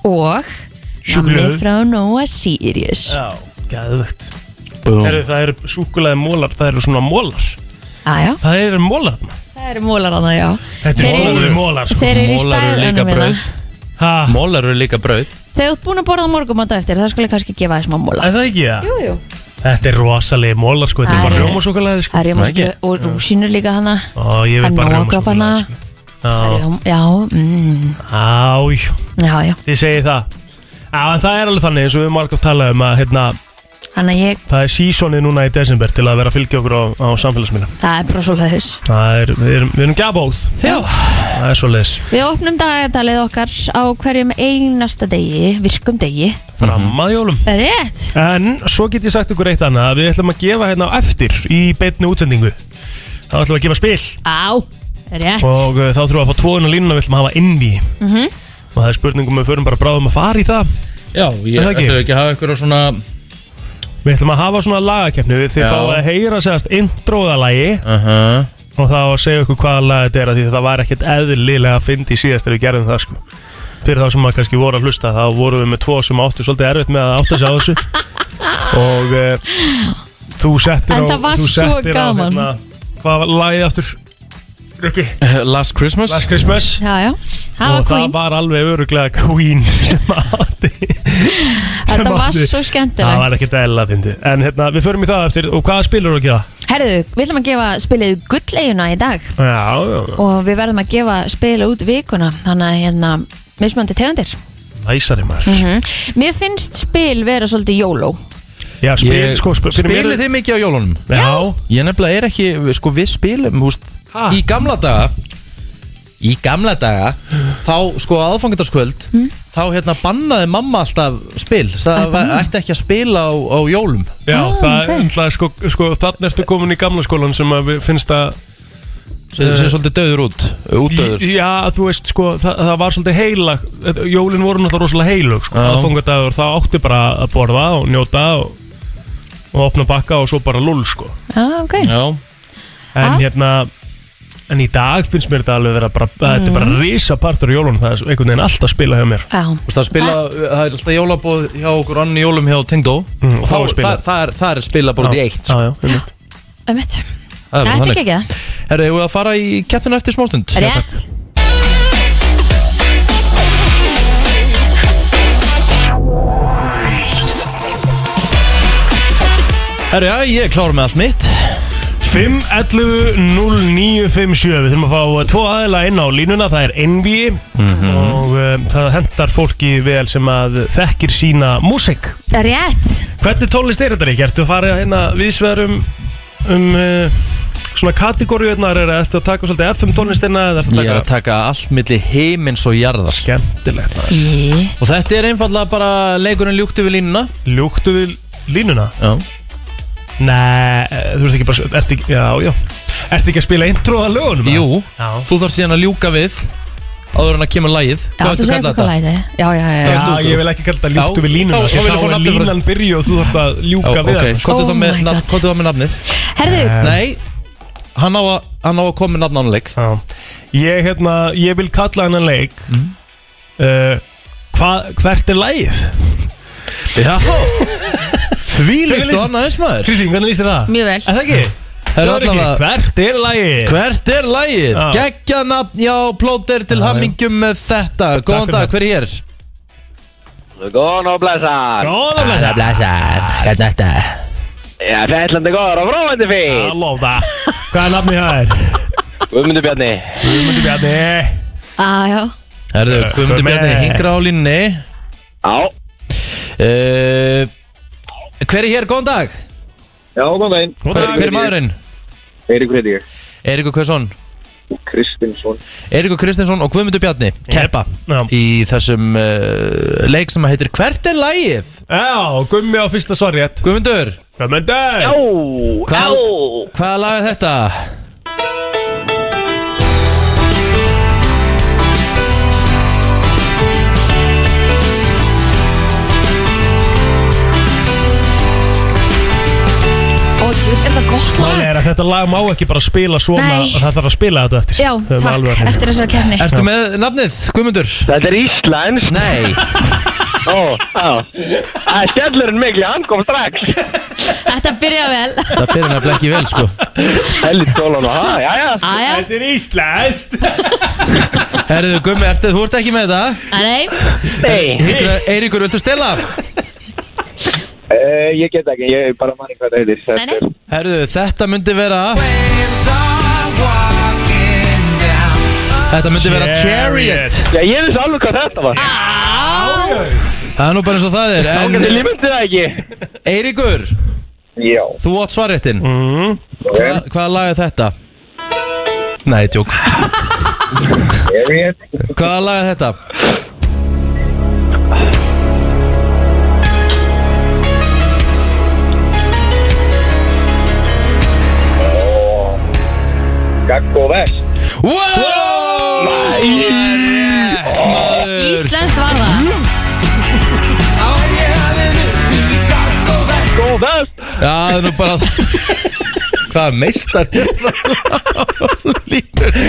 C: og nammi
E: Súkkulaði.
C: frá Nóa Sirius
E: Já, gæðvögt
D: Búm.
E: Heru, Það eru súkulega mólar, það eru svona mólar
C: aðjá,
E: Það eru mólar þarna.
C: Ah, það eru mólar hana, já
E: Þetta eru
C: Þeir
E: mólar,
C: eru-
E: mólar sko.
C: þeir eru í
D: Mólar eru líka
C: stæðunum hérna
D: brauð
E: Ha,
D: Mólar eru líka brauð
C: þegar þú ert búin að borða morgum á eftir það skulle kannski gefa þessum að móla
E: Er það ekki það?
C: jú, jú.
E: Þetta er rosalegi mólar sko, þetta
C: Það
E: er bara
C: er-
E: rjómasúkulega sko.
C: það eru
D: Það ekki?
C: jómasúkulaði og rúsinu líka hana
E: Ó, ég
C: það
E: vil
C: er
E: bara
C: nógabana
E: rjómasúkulega sko. Já,
C: já, mm,
E: áj,
C: já, já
E: þið segið það Já, en það er alveg þannig eins og við margum talað um að hérna,
C: hann að ég,
E: það er sísonið núna í desember til að vera að fylgja okkur á, á samfélagsmiðla.
C: það er bara svolítið
E: Það er, við erum, við erum gjabóð
D: Já
E: Það er svo leis
C: við opnum dagatalið okkar á hverjum einasta degi, virkum degi
E: Fram að jólum
C: rétt,
E: En svo get ég sagt ykkur eitt annað að Við ætlum að gefa hérna á eftir í beinni útsendingu Þá ætlum við að gefa spil
C: á, rétt
E: Og uh, þá þurfum við að fá tvoðun og línuna við ætlum að hafa inn í Og það er spurningum við förum bara bráðum að fara í það
D: Já, ég
E: Er það ekki?
D: ætlaði ekki að hafa ykkur á svona
E: Við ætlum að hafa svona lagakeppni Við þið
D: Já.
E: fáið að heyra segast introðalagi
D: uh -huh.
E: Og þá að segja ykkur hvaða lag þetta er af Því það var ekkert eðlilega að fyndi síðast Þegar við gerðum það sko Fyrir þá sem maður kannski voru að hlusta Þá vorum við með tvo sem áttu svolítið erfitt með að átta sig á þessu Og uh, þú settir
C: En
E: á
C: það var
E: þú
C: svo
E: settir á,
C: gaman.
E: Hvað var lagið aftur? Rikki
D: Last Christmas
E: Last Christmas
C: já, já, það var
E: Og það
C: queen
E: var alveg öruglega Queen sem átti sem
C: Þetta var
E: átti-
C: svo
E: Það
C: skemmtilegt
E: var ekkert eðlilega að fyndi En hérna, við förum í það eftir Og hvaða spilur þú að gera?
C: Herðu, við ætlum að gefa spilið gulleguna í dag
E: Já, já, já.
C: og við verðum að gefa spila út vikuna þannig að hérna mismöndi tegundir
E: Næsari maður
C: mm. Mér finnst spil vera svolítið jóló
E: Já, spil, sko, sp fyrir mér-
D: Spilið þið mikið á jólunum?
E: Já,
D: Ég nefnilega er ekki, sko við spilum húst,
E: Ha?
D: Í gamla daga Í gamla daga Þá sko aðfangandarskvöld Þá hérna bannaði mamma alltaf spil Það var- ætti ekki að spila á, á jólum
E: Já,
C: Ah,
E: það
C: ok.
E: er umtlað sko, sko þannig ertu komin í gamla skólan sem að við finnst að
D: Sem sem er svolítið döður út Útdöður
E: Já, þú veist sko, það, það var svolítið heilag þetta- Jólin voru náttúrulega rosalega heilug sko,
D: Já.
E: aðfangadagur, það átti bara að borða og njóta og, og opna bakka og svo bara lull sko
C: ah, okay.
D: Já
E: En
C: Ah.
E: hérna, en í dag finnst mér þetta alveg vera bara, þetta er
D: Mm.
E: bara risa partur í jólun, það er einhvern veginn alltaf að spila hjá mér
C: Já,
D: Þú veist, Það, spila, það er alltaf jólabóð hjá okkur annan í jólum hjá Tengdó
E: Mm,
D: og þá,
E: þá er
D: það,
E: spilað.
D: það, er, það er spila bara út í
E: Já,
D: eitt sko.
E: Já, já, einmitt.
C: um eitt
D: Það er bara
C: Þetta er
D: þannig.
C: ekki ekki það,
D: Herra, hefur við að fara í keppnina eftir smástund?
C: rétt
D: Herra, já, ég er klár með allt mitt
E: 5 11 0 9 5 7 Við þurfum að fá eh, tvo aðila inn á línuna Það er Envi Og um, það hendar fólki vel sem að þekkir sína músík
C: Rétt,
E: Hvernig tónlist er þetta ekki? Ertu að fara hérna viðsverum um uh, svona kategóriunar er eftir að taka svolítið FM tónlistina eða eftir
D: Ég er
E: að
D: að taka allt milli heimins og jarðar
E: taka skemmtilegt maður.
C: Í.
D: Og þetta er einfallega bara leikurinn ljúktu við línuna
E: Ljúktu við línuna?
D: Já
E: Nei, eh, þú ert ekki bara ert ekki, Já, já Ertu ekki að spila intro að lögunum? eða?
D: Jú,
E: Já.
D: þú þarf síðan að ljúka við Áður en að kemur lagið
C: Já,
D: Hvað
C: þú
D: ertu að
C: segir
D: kalla
C: eitthvað
D: þetta?
C: hvað lagið er. Já, já, já, já.
D: Hvað-
E: Já,
D: dúkur.
E: ég vil ekki kalla þetta ljúktu
D: Já,
E: við línuna
D: þá- þá
E: því
D: vil ég fá
E: Þá er
D: nafnið frá-
E: línan byrju og þú þarf að ljúka
D: Já,
E: við
D: ok,
E: hann, sko.
D: hvað er
C: Oh
D: það með,
C: my
D: nafn,
C: God.
D: hvað er það með nafnið?
C: Herðu,
D: Nei, hann á að, hann á að koma með nafn ánleik
E: Eh, Já. Ég, hérna, ég vil kalla hennan leik
F: Mm.
E: uh, hva, Hvert er lægið?
D: Já, því líkt og
E: lýsa-
D: annað eins maður
E: Kristín, hvernig líst þér það?
C: Mjög vel.
E: Er það ekki?
D: Herra,
E: Svo er ekki,
D: allavega-
E: hvert er lægið?
D: Hvert er lagið?
E: Já.
D: Gekja nafn, já, plóter til
E: Já, já.
D: hammingjum með þetta
E: fyrir
D: Góðan dag,
E: það.
D: hver er hér?
F: Góðan og blessan
E: Góða blessa
D: blæsar, hvernig þetta?
F: Já, fætlandi góður og fróðandi
E: Ég
F: fín
E: lof það Hvað er nafnið það er?
F: Guðmundur Bjarni
E: Guðmundur Bjarni
C: að Ah, já.
D: Herðu,
E: Eh,
D: Guðmundur
E: með-
D: Bjarni, hingra á línni
F: Já
D: uh, Hver er hér, góðan dag?
F: Já, góðan daginn
D: Hver, hver er maðurinn?
F: Eirík Rediger
D: Eiríkur Kvæsson
F: Kristinsson
D: Eiríkur Kristinsson og Guðmundur Bjarni Keppa
E: Já.
D: í þessum uh, leik sem að heitir Hvert er lagið?
E: Já, Gummi á fyrsta svar rétt
D: Guðmundur,
E: Guðmundur
F: Ó, á
D: Hvað- hvaða lag er þetta?
C: Ó, djúvill, er það gott
E: Málið
C: lag?
E: er að Þetta lag má ekki bara spila svona
C: Nei.
E: Það þarf að spila þetta eftir
C: Já,
E: Höfum alveg
C: takk,
E: að-
C: eftir þessari kefni.
D: Ertu með nafnið, Guðmundur?
F: Þetta er Íslands
D: Nei,
F: Ó, á Það er stjallurinn mikli, hann kom strax
C: Þetta byrja vel.
D: það byrja nefnilega ekki vel sko
F: Hellit skólan og það, já, já
C: Aja,
E: Þetta er íslenskt
D: Herðu, Guðmi, ertu, þú ert ekki með þetta
C: nei,
F: Nei
D: Hingra, Eiríkur, viltu stela?
F: uh, Ég get ekki, ég bara manni hvað það heitir
C: Nei, nei.
D: Herðu, þetta myndi vera Þetta myndi vera Chariot
F: Já, ég vissi alveg hvað þetta var
D: Það er nú bara eins og það er
F: Ágætt, ég
D: En
F: limiti það ekki
D: Eiríkur,
F: Já
D: þú átt svarréttin
E: Mm.
D: Hva, Hvaða lag er þetta? Nei, tjók
F: Chariot
D: Hvaða lag er þetta?
F: Gaggo Vest
D: Wow!
C: Íslands var það.
F: Gaggo Vest
D: Já, það er nú bara Hvaða meistar er það? Lífur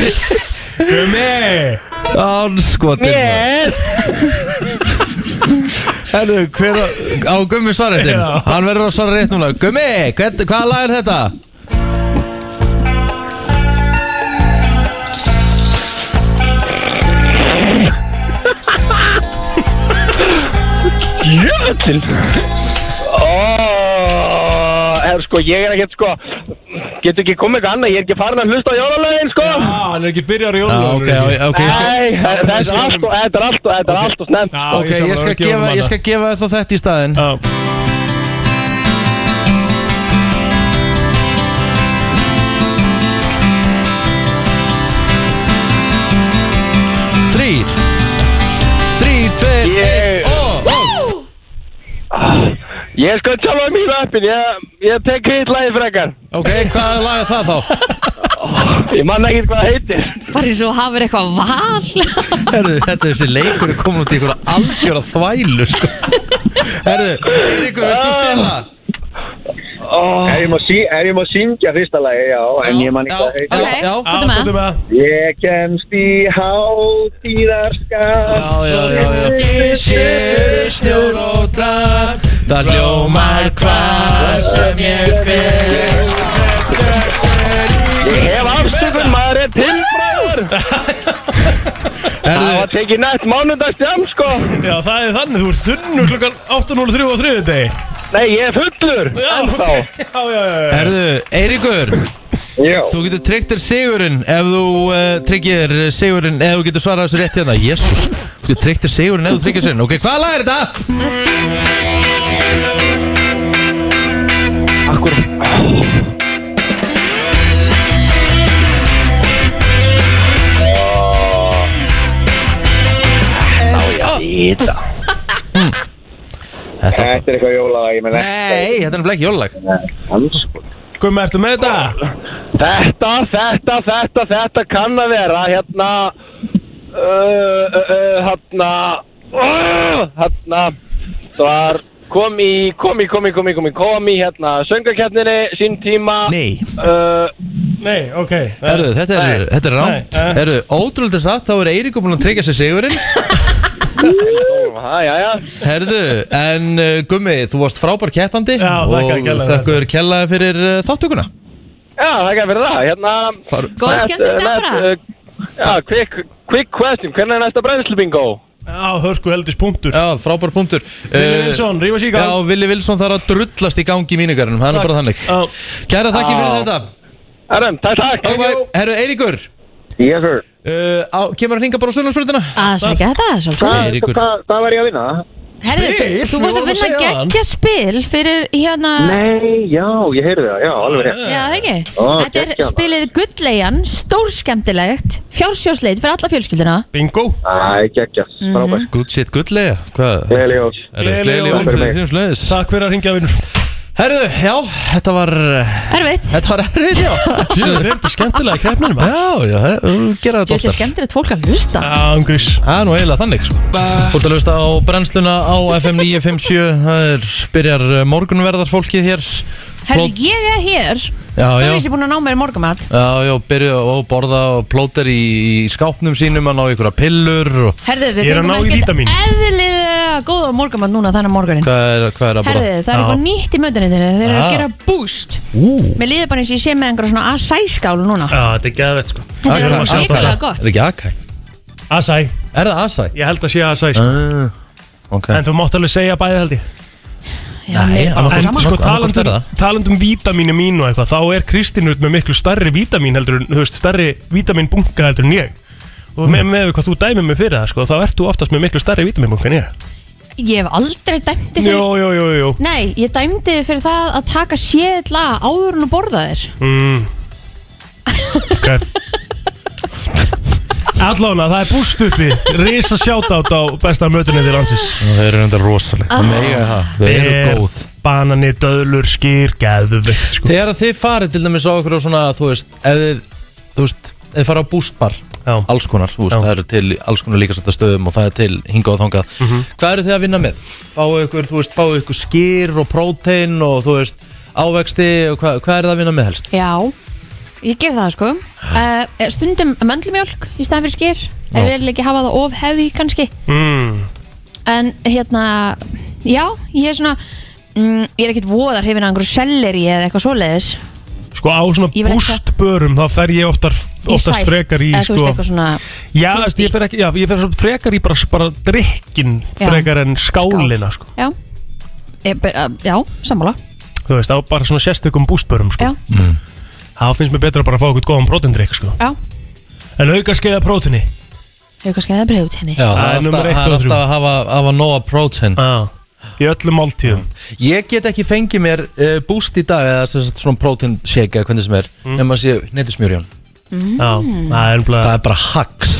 E: Gummi
D: Ánskotin
F: Yes
D: Herðu, hver á, á Gummi svarréttin?
E: Já.
D: Hann verður að svara rétt núna Gummi, hvern, hvaða lag er þetta?
F: Jöfull Ó, er, sko, ég er ekkert sko Getur ekki komið eitthvað annað Ég er ekki farin að hlusta á jólalögin sko
E: Já, Ah, hann er ekki byrjar í
D: Já,
E: jólunum
D: Ah, ok, ok, ok, ég skal
F: Nei, þetta
E: ég
F: er
E: skal-
F: allt og Þetta er allt og Þetta er allt og snemt
E: Já,
D: Ok,
E: Ah, sammála,
D: ég skal
E: ekki
D: gefa,
E: um
D: ég
E: hana.
D: skal gefa þér þá þetta í staðinn
E: Já.
D: Þrýr Þrýr, tveir,
F: Ég-
D: einn og
F: Ég er sko tjála mínu appin Ég, ég tek hitt lagi frekar
D: Ok, hvaða lag er það þá?
F: Ég man ekkert hvað það heitir
C: Bara eins og hafur eitthvað val.
D: Herðu, þetta er þessi leikur er komin út í ykkur algjöra þvælu sko. Herðu, Eiríkur, veist þú stela?
F: Ó,
G: Er ég má sí- er ég má syngja fyrsta lagi, já, en ég man ekki hvað
D: Ah.
G: heitir.
D: Já, já.
C: Ok,
E: Já,
C: hvað er
E: komdu
C: með?
E: með
G: Ég kemst í hátíðarskap.
D: já, já, já Sér snjór og dag Það hljómar hvað sem ég fer
F: ég hef afstökun Maður er tilfræður Það var
D: Herðu,
F: tekið nætt mánudagstjám sko
E: Já, það er þannig, þú ert þunnu klukkan 8.03 á þriðu deg
F: Nei, ég er fullur Ennþá
E: Já, já, já, já
D: herðu, Eiríkur
G: Já.
D: Þú getur tryggt þér sigurinn ef þú uh, tryggir þér sigurinn ef þú getur svarað þessu rétt hérna Jésús, þú getur tryggt þér sigurinn ef þú tryggir sigurinn Ok, hvað lag er þetta?
F: Akkur vita
D: Þetta er
G: Þetta er eitthvað jólalag, ég menn
D: Nei, þetta er nefnilega ekki jólalag
E: Gummi, ertu með þetta?
F: Þetta, þetta, þetta, þetta kann að vera hérna uh, uh, uh, hérna uh, hérna það var kom í, kom í, kom í, kom í, kom í, kom í hérna söngakeppninni, sín tíma
D: Nei,
F: uh,
E: Nei, ok
D: herru, þetta er,
F: Nei.
D: þetta er rámt
E: Nei, eh.
D: Herru, ótrúlega satt, þá er Eirík búin að tryggja sér sigurinn
F: já, já, já
D: Herðu, en uh, Gummi, þú varst frábær keppandi
E: Já,
D: og
E: þakka kærlega
D: þakkur kellaði fyrir uh, þáttökuna
F: Já, það er fyrir það, hérna
D: Far,
C: Góð
F: Næst-
C: skemmtur í dag
F: næst-
C: bara
F: uh, Já, quick, quick question, hvernig er næsta brennslu bingo?
E: Já, hörku heldist punktur
D: Já, frábær punktur Uh,
E: Villi Vilsson, rífa sig í gang.
D: Já, Vili Vilsson þarf að drullast í gangi í mínugarnum, hann er bara þannig
E: Já.
D: Kæra þakki fyrir
F: Já.
D: þetta
F: Erum, takk, takk
D: Bye bye. Herru, Eiríkur
G: Yes, sir
D: uh, á, Kemur hann hinga bara á sunnarsprutina?
C: að sækja Ah, þetta svolítið
G: Hvað
D: Eiríkur.
G: hvað- hvað var ég að vinna?
C: Herðu,
E: Spil?
C: þú
E: Við
C: vorst að
E: vorum að
C: vinna
E: segja það.
C: geggja spil fyrir hérna
G: Nei, já, ég heyrði það, já, alveg rétt
C: Já, það ekki?
G: Ó,
C: Þetta er
G: geggjað.
C: spilið Gullleian, stórskemmtilegt, fjársjósleit fyrir alla fjölskyldina.
E: Bingo
G: Æ, geggjast,
C: Mhm.
G: frábært
D: Good shit, good lega Hvað?
G: Gleðileg jól.
D: Herru,
E: Gleðileg
D: Gleðileg
E: jól
D: jól
G: fyrir
D: fyrir
G: mig.
D: þessum sleiðis
E: Takk fyrir að ringja vinnur
D: Herru, já, þetta var uh,
C: Erfitt.
D: Þetta var erfið, já
E: Þetta er þetta skemmtilega keppnir maður
D: Já, já, he- gera þetta
C: Þetta er
D: oftar
C: skemmtilegt fólk að hlusta.
E: Já, umgrís
D: Það er nú eiginlega þannig sko. Þú ert að hlusta á brennsluna á FM 957 Það er, byrjar eh, morgunverðarfólkið hér
C: Herðu,
D: Plót-
C: ég er hér.
D: Já,
C: Þá
D: já,
C: veist ég búin að ná mér morgumat.
D: já, já byrja að borða og plóter í, í skápnum sínum að ná ykkur að pillur og
C: Herðu, við
E: Ég er að
C: fengum
E: ná í vítamín.
C: eðlilega góða morgumat núna þannig morgunin.
D: hvað er, hvað er að borða?
C: Herðu, það er
E: Já. Ah.
C: eitthvað nýtt í mötunni þinni. Þeir eru
D: Já.
C: að gera boost.
D: Ú,
C: Mér líður bara eins og ég sé með einhverja svona acai-skálu núna.
E: Já, þetta er geðvett sko
C: Þetta er
D: Akai,
C: alveg
D: Akai.
C: svakalega
D: Er það
C: gott.
D: ekki Akai?
E: Asæ
D: Er það Asai?
E: Ég held að sé Asæ sko
D: Uh, ok
E: En þú mátt alveg segja bæði held ég
C: Já, mér er bara
D: annað-
E: En
C: sama.
D: Annarkvort-
E: sko
D: annarkvort er
E: talandum,
D: það.
E: talandum vítamínu um mín og eitthvað Þá er Kristín út með miklu starri vítamín heldur en, Þú veist, starri vítamínbunka heldur en ég Og með, með hvað þú dæmir mig fyrir það sko Þá ert þú oftast með miklu starri vítamínbunka en ég
C: Ég hef aldrei dæmt þig
E: Jó,
C: fyrir...
E: jó, jó, jó
C: Nei, ég dæmdi þig fyrir það að taka séðla áður en að borða þér.
E: mm. Ok Allána, það er búst uppi Risa sjátátt á besta mötunni til landsins
D: Það eru enda rosaleg Það mega
C: Ah.
D: það, þau eru
E: Ber,
D: góð
E: Banani, döðlur, skýr, geðvögt sko.
D: Þegar þið farið til dæmis á okkur á svona, þú veist, ef þið, þú veist, ef þið farið á bústbar,
E: Já.
D: alls konar, þú veist,
E: Já.
D: það eru til alls konar líka svolítið stöðum og það er til hingað og þangað. Hvað eru þið að vinna með? Fáu ykkur, þú veist, fáu ykkur skýr og prótein og þú veist, ávexti og hvað, hvað eru það að vinna með helst?
C: Já, ég ger það sko
E: Ah.
C: uh, Stundum möndlumjólk í staðan fyrir skyr Ef við erum ekki hafa það of hefi kannski
E: mm.
C: En hérna, já, ég er svona mm, Ég er ekkert voðar hefina einhverju selleri eða eitthvað svoleiðis
E: sko á svona
C: Ég vil ekki-
E: bústbörum Þá fer ég oftar, oftast frekar í
C: eða Eh, þú veist
E: sko.
C: eitthvað svona
E: Já, þú veist, ég fer, ekki, já, ég fer svona frekar í bara, bara drikkin
C: Já.
E: Frekar en skálina sko.
C: Já, ég, ber- uh, já sammála
E: Þú veist, á bara svona sérstökum bústbörum
C: Já.
E: sko.
D: Mm.
E: Það finnst mér betra bara að fá eitthvað góðan prótindrykk sko.
C: Já,
E: En auka skeiða prótinni
C: hefur kannski eða breyð út henni
D: Já, það
E: er
D: er
E: númer
D: alltaf,
E: eitt,
D: það
E: tvö
D: er
E: og þrjú.
D: alltaf að hafa, hafa nóa prótein.
E: Já, í öllum máltíðum
D: Ég get ekki fengið mér uh, búst í dag eða sem sagt svona prótein shake eða hvernig sem er, mm. Ah. nema að sé neytismjörjón.
E: Já, það er
D: Það
E: bara
D: er bara hacks.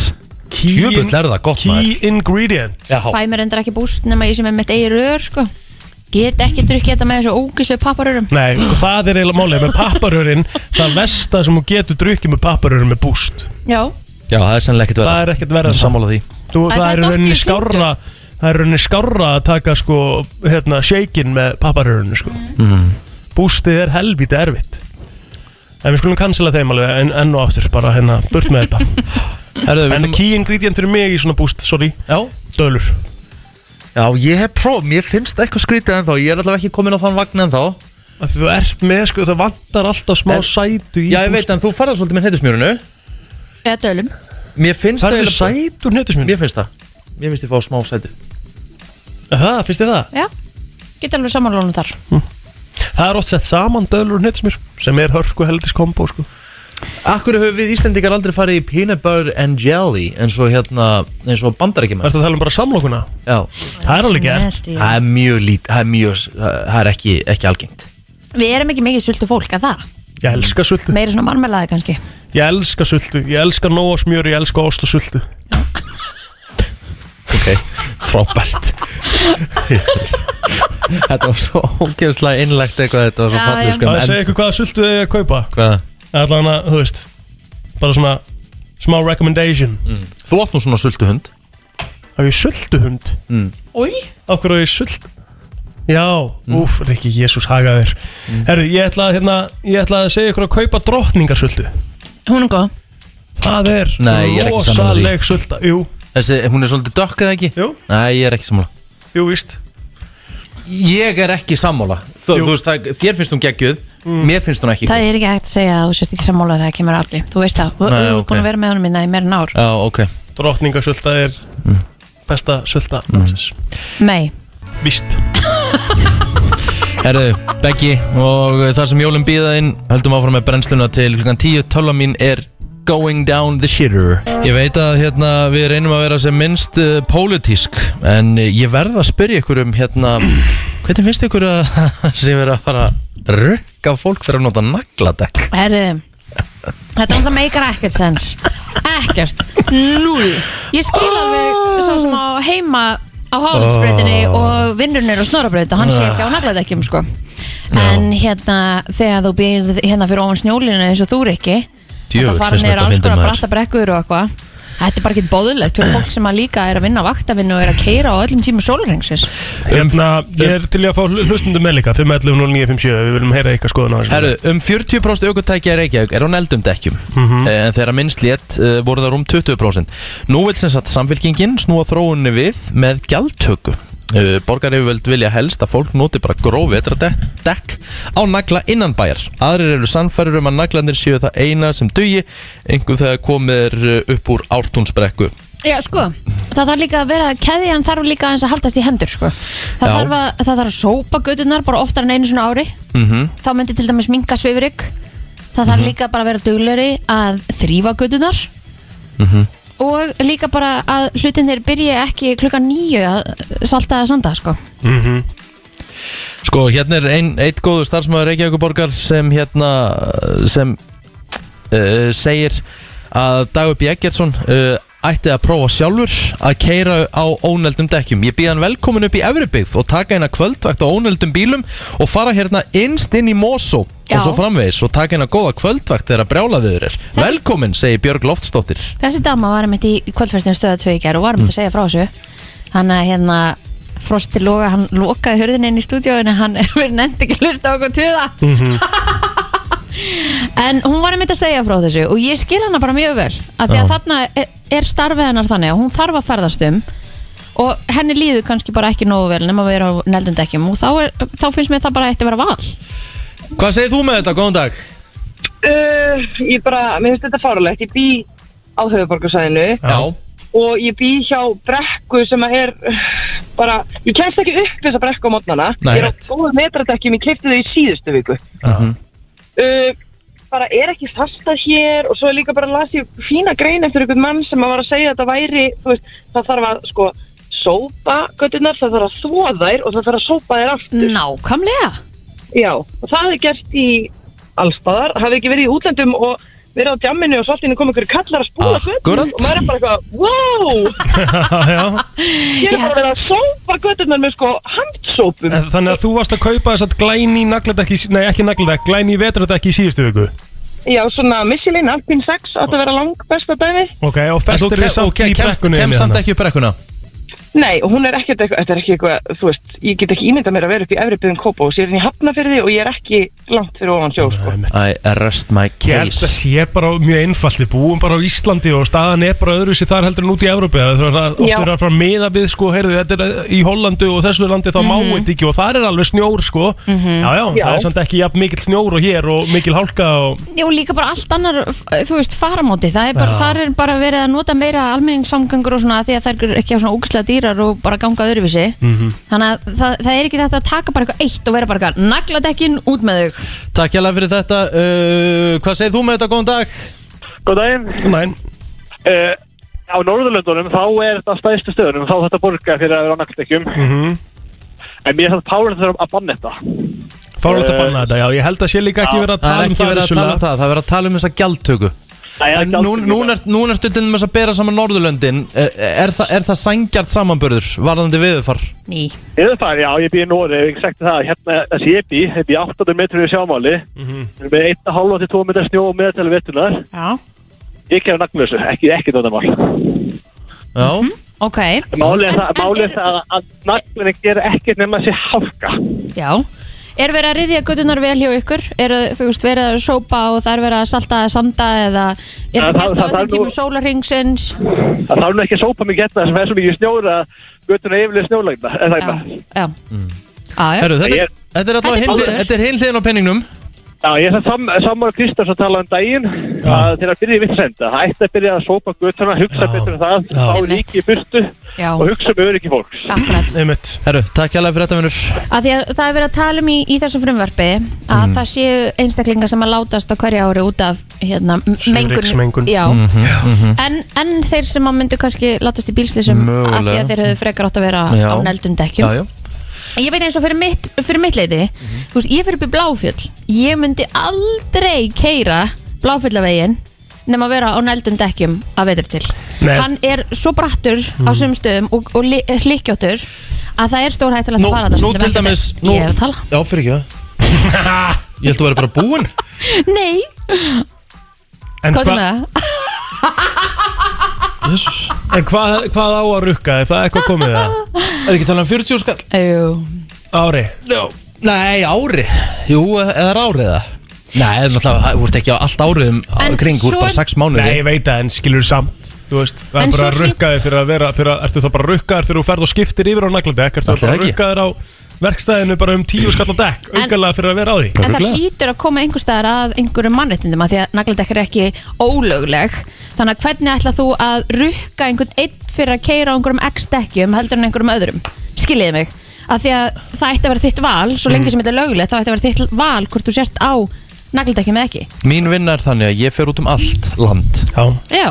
D: Tjöfull er það gott maður.
E: Key ingredient
D: Já,
C: Fæ mér endur ekki búst nema ég sem er mitt eigi rör sko Get ekki drukkið þetta með þessu ógislu papparörum
E: Nei, sko, það er eiginlega málið með papparörin Það versta sem þú getur drukkið með papparörin með búst
C: Já,
D: já, það er sennilega ekkert verið.
E: Það er ekkert verið
D: Sammála því.
E: Þú,
C: Æ,
E: það,
C: það
E: er
C: datt
E: rauninni
C: í sundur.
E: skárra Það er rauninni skárra að taka sko, hérna, shakein með papparörinu sko. mm.
D: Mhm.
E: Bústið er helvítið erfitt En við skulum cancela þeim alveg en, enn og aftur, bara hérna, burt með þetta
D: Herðu, við
E: En
D: ætlum-
E: key ingredient fyrir mig í svona búst, sorry,
D: Já,
E: dölur
D: já, ég hef próf, mér finnst eitthvað skrítið ennþá, ég er allavega ekki komin á þann vagn ennþá
E: Af því Þú ert með, sko, það vantar alltaf smá
D: En-
E: sætu í
D: Já, ég veit, en þú farðar svolítið með hneitusmjörunu
C: eða dölum
D: Mér finnst
E: Það
D: það
E: er
D: eiginlega-
E: sætur netusmjör
D: Mér finnst það, mér finnst ég fá smá sætu
E: Það, finnst þið það?
C: Já, get alveg samanlónum þar
E: Það er oft sett saman dölur og netusmjör sem er hörku heldis kombo sko.
D: Akkur höfum við Íslendingar aldrei farið í peanut butter and jelly eins og hérna, eins og bandarækjumann
E: Það er að tala um bara samlokuna
D: Já,
E: Það er alveg gert
C: Nasty.
D: það er mjög lít, það er mjög, það er ekki, ekki algengt
C: Við erum ekki mikið sultu fólk að það
E: Ég elska sultu
C: Meiri svona marmelaði kannski
E: Ég elska sultu Ég elska nóa smjör Ég elska ost og sultu
D: Ok, frábært Þetta var svo ógeðslega innlegt eitthvað Þetta var svo
C: Já,
D: fallið
C: já.
D: sko
E: Það
D: en-
E: segja ykkur hvaða sultu þið að kaupa
D: hvað-
E: Allan að, þú veist Bara svona smá recommendation
D: Mm. Þú átt nú svona sultuhund
E: Á ég sultuhund?
D: Mm.
C: Új,
E: Á hverju á ég sult? Já,
D: Mm.
E: úf, Rikki, Jésús haga þér Herru, ég ætla, að, hérna, ég ætla að segja ykkur að kaupa drottningarsultu
C: hún er góð
E: Það er
D: Nei, ég er ekki sammála því.
E: rosaleg sulta Jú,
D: Þessi, hún er svolítið dökk eða ekki?
E: Jú.
D: Nei, ég er ekki sammála
E: jú, víst
D: Ég er ekki sammála Þú,
E: Jú.
D: þú veist, það, þér finnst hún geggjöð Mér finnst hún ekki
C: Það er ekki hægt að segja að þú sérst ekki sammála að það kemur allir Þú veist það, þú
D: Nei,
C: erum
D: ok.
C: búin að vera með honum minna í meira en ár
D: Já, ok
E: Drottningarsulta er
D: Mm.
E: besta sulta landsins
C: Nei,
E: Víst
D: Herðu, Beggi og þar sem jólum býða inn höldum áfram með brennsluna til klukkan 10 tölva mín er Going Down the Shitter Ég veit að hérna við reynum að vera sem minnst uh, pólitísk en eh, ég verð að spyrja ykkur um hérna hvernig finnst ykkur að sem vera að fara að rukka fólk fyrir að nota nagladekk
C: herðu Þetta alltaf meikar ekkert sens Ekkert, núl Ég skil alveg svo sem á heima á Hálandsbreytinni
D: Ah.
C: og vinnurnir og snorabreyta, hann sé ekki á nagladekkjum sko En hérna þegar þú býrð hérna fyrir ofan snjólinu eins og þú er ekki
D: Djöfull,
C: Þetta fara
D: finnst mér
C: niður
D: þetta
C: alls
D: fyndið,
C: konar
D: maður.
C: bratta brekkur og eitthvað Þetta er bara ekki bóðilegt fyrir fólk sem að líka er að vinna vaktavinnu og er að keira á öllum tímum sóluringsins
E: Hérna, ég er til í að fá hlu- hlustundum með líka 5.11.09.57, við viljum heyra eitthvað skoðun á þessu
D: Herru, um 40% aukutækja í Reykjavík er á neldum dekkjum Eh, en þegar minnst létt uh, voru það rúm 20% Nú vil sem sagt samfélkingin snúa þróunni við með gjaldtöku uh, Borgaryfjöld vilja helst að fólk noti bara gróf vetradekk á nagla innan bæjar Aðrir eru sannfærir um að naglanir séu það eina sem dugi einhver þegar komið er uh, upp úr ártúnsbrekku
C: Já, sko, það þarf líka að vera keðjan þarf líka aðeins að haldast í hendur, sko Það,
D: Já.
C: þarf að, það þarf að sópa gödunar bara oftar en einu svona ári -hmm. Þá myndi til dæmis minka svifrygg Það þarf líka bara að vera dugleri að þrýfa gödunar -hmm. Og líka bara að hlutinir byrja ekki klukkan nýju að salta að sanda, sko
D: Sko, hérna er ein, eitt góðu starfsmæður Reykjavíkuborgar sem hérna uh, sem uh, segir að Dagur B. Eggertsson uh, ætti að prófa sjálfur að keira á óneldum dekkjum. Ég býð hann velkomin upp í Efribyggð og taka hérna kvöldvakt á óneldum bílum og fara hérna innst inn í Mosó
C: Já.
D: og svo framvegis og taka hérna góða kvöldvakt þegar brjálaðiður er.
C: Þessi-
D: Velkomin, segir Björg Loftsdóttir.
C: Þessi dama var einmitt í kvöldferðin stöða 2 í gær og var einmitt að segja frá þessu hann að hérna Frosti Loga, hann lokaði hörðin inn í stúdíóinu hann verið nefndi ekki að hlusta á okkur tuða en hún var einmitt að segja frá þessu og ég skil hana bara mjög vel að því að þarna er- er starfið hennar þannig að hún þarf að ferðast um og henni líður kannski bara ekki nógu vel nema að vera á neldundekkjum og þá, er, þá finnst mér það bara eitt að vera val
D: Hvað segir þú með þetta? Góðan dag.
H: Uh, ég bara, mér finnst þetta fárulegt, ég bý á höfuborgarsæðinu
D: Já.
H: og ég bý hjá brekku sem að er uh, bara, ég kemst ekki upp þessa brekku á mótnana,
D: Nei,
H: ég er á
D: rétt.
H: góðu metradekkjum, ég kefti þau í síðustu viku. uh, bara er ekki fasta hér og svo er líka bara las ég fína grein eftir einhvern mann sem að var að segja að þetta væri, þú veist, það þarf að sko sópa göttunar, það þarf að þvó þær og það þarf að sópa þær aftur.
C: Nákvæmlega
H: Já, og það er gert í allstaðar, hafi ekki verið í útlendum og verið á djamminu og svo allt inni kom einhverju kallar að spúla
D: Akkurat.
H: göttunum og maður er bara eitthvað, wow, ég er bara verið að sópa göttunar með sko handsópum.
E: En Þannig að þú varst að kaupa þess að glæni nagladekki, nei ekki nagladekki, glæni vetradekki í síðustu viku
H: Já, svona missilinn, Alpine 6, átt að vera lang besta dæmið.
E: Ok, og
D: En þú
E: festir þið
D: ke-
E: samt
D: ok,
E: í
D: kemst,
E: brekkunni
D: kemst samt ekki upp brekkuna?
H: Nei, og hún er ekkert eitthvað, þetta er ekki eitthvað, þú veist, ég get ekki ímyndað mér að vera upp í efri byggðin Kópavós, ég er inn í Hafnafyrði og ég er ekki langt fyrir ofan sjó, sko.
D: I arrest my
E: Ég held að
D: case.
E: sé bara mjög einfalt, við búum bara á Íslandi og staðan er bara öðruvísi þar heldur en út í Evrópi Það er það
H: Já.
E: oft verið að fara meða við sko, heyrðu, þetta er í Hollandu og þessu landi þá mm -hmm. máið ekki og þar er alveg snjór sko já, já,
H: Mhm. Já.
E: það er samt ekki jafn mikil snjór og hér og mikil hálka og
C: Já, og líka bara allt annar, f- þú veist, faramóti það er bara, þar er bara verið að nota meira almenningssamgöngur og svona af því að þær eru ekki á svona ógislega dýrar og bara ganga öðruvísi
I: Mhm.
C: -hmm. þannig að það, það er ekki þetta að taka bara eitthvað eitt og vera bara eitthvað, nagladekkin út með þau
D: Takk hjá fyrir þetta uh, Hvað segir þú með þetta, góðan dag?
J: Góð daginn.
E: Næn,
J: Uh, á Norðurlöndunum þá er þetta stæðstu stöðunum, þá þetta borga fyrir að vera á nagldekjum.
D: Mhm.
J: En mér er það párlega þurfum að banna þetta.
E: fárlega að banna þetta, já, ég held að sé líka ekki verið að
D: Eh, Það
E: tala
D: er
E: um
D: ekki
E: það
D: verið að tala um
E: vissulega.
D: það, það er verið að tala um þessa gjaldtöku
I: Það er
D: En
I: ekki
D: nú-
I: alls-
D: Núna ert- núna ertu til dæmis að bera saman Norðurlöndin Er, er, það, er það sangjart samanbörður varðandi veðurfar?
C: Ný
I: Ég veit það, já, ég býð í Nóri, ég hef ekki sagt það, hérna, þessi ég býð, ég býð 800 metrum í sjámáli,
D: Mhm.
I: við erum með 1,5 til 2 metrar snjó og meðaltæli vettunar,
C: Já
I: ég kemur naglösu, ekki, ekki dóttamál.
D: Já
C: Ok,
I: Málið er
C: En-
I: það,
C: en
I: málið
C: er-
I: er það að naglunni gera ekkert nema sér hálka.
C: já Er verið að riðja gödunar vel hjá ykkur? Er þú veist verið að sópa og það er verið að salta eða sanda eða er
I: Ja, það-
C: það gert á
I: það- það
C: öllum
I: er nú-
C: tímum sólarringsins?
I: Það þarf nú ekki að sópa mikið hérna sem er svo mikið snjóra, göttuna yfirlega snjólægna, er það
C: Já,
I: ekki?
C: já Ah, Já, já,
D: Herru, þetta,
I: Ég Mm. er-
D: er- þetta er
C: Þetta er
D: allavega hin-
C: bónus.
D: þetta er hinliðin á penningnum
I: Já, ég er sam, samar Kristjáns að tala um daginn að þegar að byrja í vittsenda, það ætti að byrja að sópa göttuna, hugsa
E: Já.
I: betur um það,
E: Já.
I: fá
C: Einmitt.
I: líki í burtu
C: já,
I: og hugsa um öryggi fólks.
C: akkurat
E: Einmitt.
D: Herru, takk hérlega fyrir þetta vinnur
C: að því að það er verið að tala um í, í þessu frumvarpi að það séu einstaklingar sem að látast á hverju ári út af hérna, m- mengun,
E: Svifryksmengun.
C: Já. En, en þeir sem að myndu kannski látast í bílslýsum
D: Mögulega.
C: að því að þeir höfðu frekar átt að vera
D: Já.
C: á neldum dekkjum
D: Já, já
C: ég veit eins og fyrir mitt, fyrir mitt leiti
D: Mhm.
C: þú veist, ég fyrir upp í Bláfjöll ég myndi aldrei keira Bláfjallavegin nema að vera á nældum dekkjum að veitir til
E: Nei.
C: hann er svo brattur
D: Mhm.
C: á sum stöðum og, og li- hlykkjóttur að það er stór hættilegt
D: Nú,
C: að fara það
D: nú
C: stundum
D: til
C: ekki
D: dæmis
C: þetta.
D: nú,
C: ég er að tala
D: Já, fyrir ekki það Ég held að vera bara búinn
C: nei,
E: En
C: hvað er
E: hva-
C: með það?
D: Jesus.
E: en hvað hvað á að rukka? Er það eitthvað komið það?
D: Er ekki talað um 40 skall?
C: Jú.
E: Ári?
D: Já Nei, ári Jú, eða er árið það? Nei, það er náttúrulega, þú ert ekki á allt árið um
C: En
D: kring, þú ert
C: svo-
D: bara 6 mánuði
E: Nei, ég veit það, en skilur samt Þú veist, það
C: En
E: er bara
C: svo
E: að
C: hlý-
E: rukka þig fyrir að vera fyrir að, Ertu þá bara að rukka þig fyrir að þú ferð og skiptir yfir á nagladekk Ertu þá
D: Ætli
E: bara að
D: ekki.
E: rukka þig á verkstæðinu bara um tíu skall á dekk
C: En-
E: Augalega fyrir að vera á því
C: en það
D: Örugglega.
C: hlýtur að koma einhver staðar að einhverjum mannréttindum að því að nagladekk er ekki ólögleg þannig að hvernig ætla þú að rukka einhvern einn fyrir að keira á einhverjum x-dekkjum heldur en einhverjum öðrum skiljiði mig að því að það ætti að vera þitt val svo lengi sem þetta er löglegt þá ætti að vera þitt val hvort þú sért á nagladekkjum eða ekki
D: Mín vinna er þannig að ég fer út um allt land
E: Já,
C: já,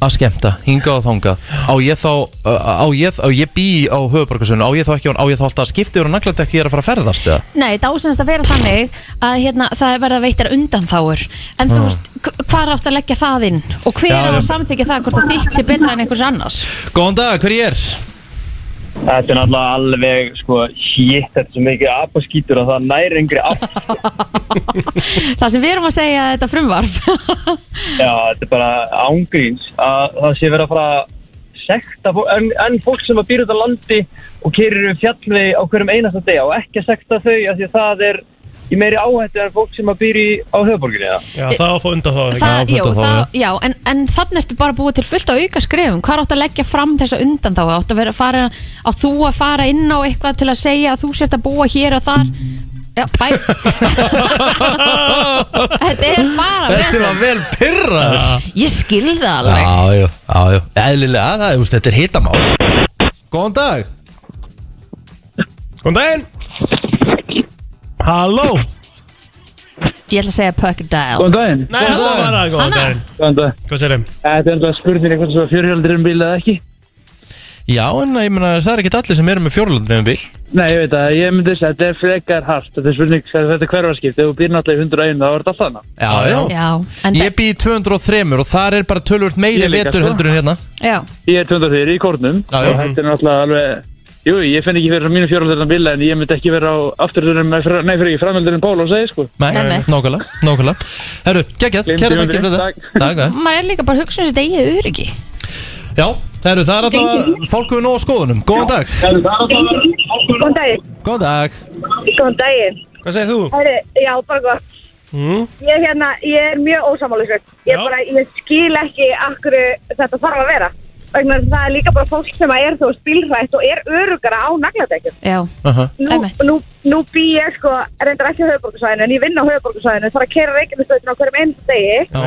D: að skemmta, hinga og þanga á ég þá, á ég, á ég bý á höfuborgarsönu, á ég þá ekki, á ég þá alltaf að skipta yfir á nagladekk ég er að fara að ferðast eða
C: nei, það ásynast að vera þannig að hérna, það er verið að veitja undanþáur en þú veist, hvað áttu að leggja það inn og hver
D: Já,
C: á að
D: já.
C: samþykja það hvort það þitt sé betra en einhvers annars
D: Góðan dag, hver ég er?
K: Þetta er náttúrulega alveg, sko, shit, þetta er svo mikið apaskítur að það næri yngri átt.
C: það sem við erum að segja að þetta frumvarf
K: Já, þetta er bara ángríns að það sé verið að fara að sekta fólk, en, en fólk sem að býr út á landi og kerir um fjallvegi á hverjum einasta degi og ekki að sekta þau af því að það er í meiri áhættu en fólk sem að býr í, á höfuborginni. eða?
E: já það á að fá undan þá
C: Það,
D: Já,
C: jú,
D: þetta
C: það,
D: þá,
C: já, en, en þannig ertu bara búið til fullt á auka skrifum Hvað áttu að leggja fram þessa undan þá? Áttu að vera að fara, átt þú að fara inn á eitthvað til að segja að þú sért að búa hér og þar Já, bæ Þetta er bara
D: Þessi var vel pyrraður
C: Ég skil það alveg
D: Já, já, já, já Eðlilega, það, þú veist, þetta er hitamál Góðan dag
E: Góðan daginn Halló
C: Ég ætla að segja Puck Dial
K: Góðan daginn.
E: Nei, halló
D: daginn.
E: var það, góðan
C: Hanna.
E: daginn
K: Góðan daginn.
E: Hvað sér þeim?
K: Þetta er náttúrulega spurning eitthvað sem að fjörhjöldurum bíl eða ekki.
D: Já, en ég meina, það er ekki allir sem eru með fjórlundur nefnum bíl
K: Nei, ég veit að ég myndi að þetta er frekar hart. Þetta er spurning, þetta er hverfarskipt. Ef þú býr náttúrulega í 101 þá er þetta alltaf hana.
D: Já, já,
C: Já, en
D: Ég bý í 203 og þar er bara tölvöld meiri
K: Ég líka,
D: vetur
K: sko.
D: heldur en hérna
C: já,
K: Ég er 24 í kórnum
D: Já, já.
K: og þetta er náttúrulega alveg Jú, ég finn ekki fyrir mínu fjórhaldur en bíla en ég myndi ekki vera á afturhaldurinn með fra- Nei, fyrir ekki framhaldurinn Pál og segi sko
D: Nei,
C: Einmitt.
D: nákvæmlega, nákvæmlega Herru, geggjað,
K: Gleymdi
D: kæra
K: ég
D: þakki fyrir þetta
K: aldrei.
D: um Takk, takk
C: maður er líka bara að hugsa um þessi degi öryggi
D: Já, herru, það er alltaf fólk við nóg á skoðunum Góðan dag
L: Góðan daginn.
D: Góðan dag
L: Góðan daginn.
E: Hvað segir þú?
L: Herri, já, bara gott.
E: Mm.
L: Ég, er hérna, ég er mjög ósamálisvöld. Ég,
E: Já.
L: bara, ég skil ekki akkur þetta þarf að vera. Vegna þess að það er líka bara fólk sem er þú veist bílrætt og er örugara á nagladekjum.
C: Já,
D: Aha.
L: Nú,
C: Einmitt.
L: nú, nú bý ég sko, reyndar ekki á höfuborgarsvæðinu en ég vinn á höfuborgarsvæðinu, þarf að kera reikinu á hverjum einn degi
D: Já.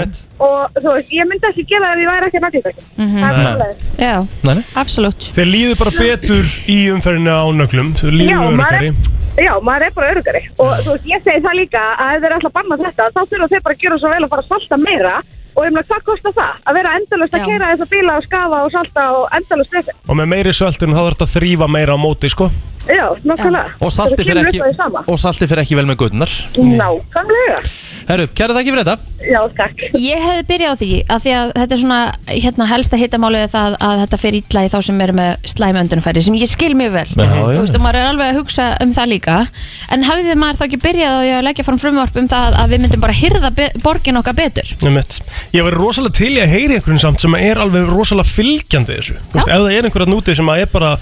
L: og þú veist, ég myndi ekki gera það ef ég væri ekki á nagladekjum. Það er bara leið.
C: já,
D: Nei, nei.
C: absolutt
E: Þeir líður bara betur í umferðinu á nöglum Þeir
L: Já,
E: líður
L: maður
E: öryggari
L: er, já, maður er bara örugari og þú veist, ég segi það líka að ef þeir eru alltaf að banna þetta þá þurfa þeir bara að gera svo vel að fara að salta meira og ég meina, hvað kostar það? Að vera endalust
C: Já.
L: að kera þessa bíla og skafa og salta og endalust þessi
E: Og með meiri svöldun þá þarf þetta að þrýfa meira á móti, sko
L: Já, nokkulega
D: Og salti fyrir ekki
L: Og
D: Og salti fyrir ekki vel með guttunar
L: Nákvæmlega
D: Herru, kæra þakki fyrir þetta
L: Já, takk
C: Ég hefði byrjað á því að því að þetta er svona hérna, helsta hittamálið er það að þetta fer illa í þá sem eru með slæmöndunfæri sem ég skil mjög vel
D: Já, já.
C: Þú veist, og maður er alveg að hugsa um það líka en hafði maður þá ekki byrjað á því að leggja fram frumvarp um það að við myndum bara hyrða be- borgin okkar betur
E: Einmitt. Ég verið rosalega til í að heyri einhverjum samt sem er alveg rosalega fylgjandi þessu Þú veist, Ef það er einhverja nútið sem er bara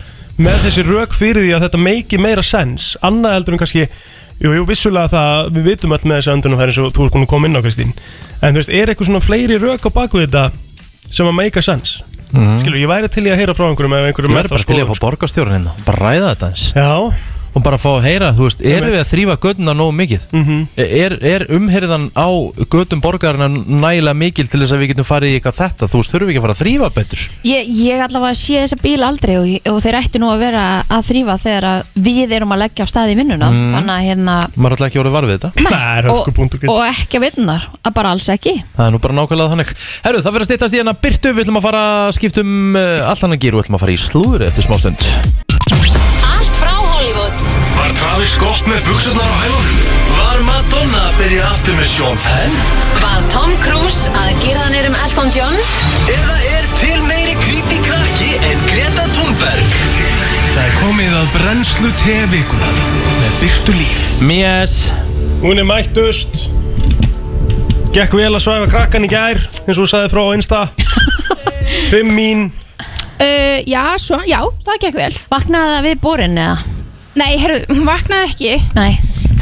E: með þessi rök fyrir því að þetta meiki meira sens Annað heldur en kannski Jú, jú, vissulega það, við vitum öll með þessi öndunumfæri eins og þú er komin að koma inn á Kristín En þú veist, er eitthvað svona fleiri rök á baku þetta sem að meika sens
D: Mhm.
E: Skilur, ég væri til í að heyra frá einhverjum ef
D: Ég
E: einhverjum
D: verður bara til í að fá borgarstjórun hérna og bara ræða þetta eins
E: sko. Já
D: Og bara fá að heyra, þú veist, erum við að þrýfa göduna nógu mikið? E,
E: Mhm.
D: Er, er umherðan á gödum borgarna nægilega mikil til þess að við getum farið í eitthvað þetta? Þú veist, þurfum við ekki að fara að þrýfa betur?
C: Ég, ég allavega sé þessa bíl aldrei og, og þeir ættu nú að vera að þrýfa þegar að við erum að leggja af staði í vinnuna
D: Mm.
C: þannig að hérna
D: Maður er alltaf ekki orðið var við þetta
E: Nei,
C: og, og ekki að vinnar, að bara alls ekki
D: Það er nú bara nákvæmlega þannig Herru, það fyrir að stýttast í hérna Byrtu, við ætlum að fara að skipta um uh, allt annan gýr og við ætlum að fara í slúður eftir smástund
M: Allt frá Hollywood
B: Var Travis gott með buksunar á hælunum? Var Madonna að byrja aftur með Sean Penn?
M: Var Tom Cruise að gera hann um Elton John? Eða er til meiri creepy krakki en Greta Thunberg?
B: Það er komið að brennslu tevikunar með byrtu líf
D: Mjess
E: Hún er mættust Gekk vel að svæfa krakkan í gær eins og þú sagði frá á Insta Fimm mín
K: Uh, já, svona, já, það gekk vel
C: Vaknaði það við borin eða?
K: Nei, herru, hún vaknaði ekki
C: Nei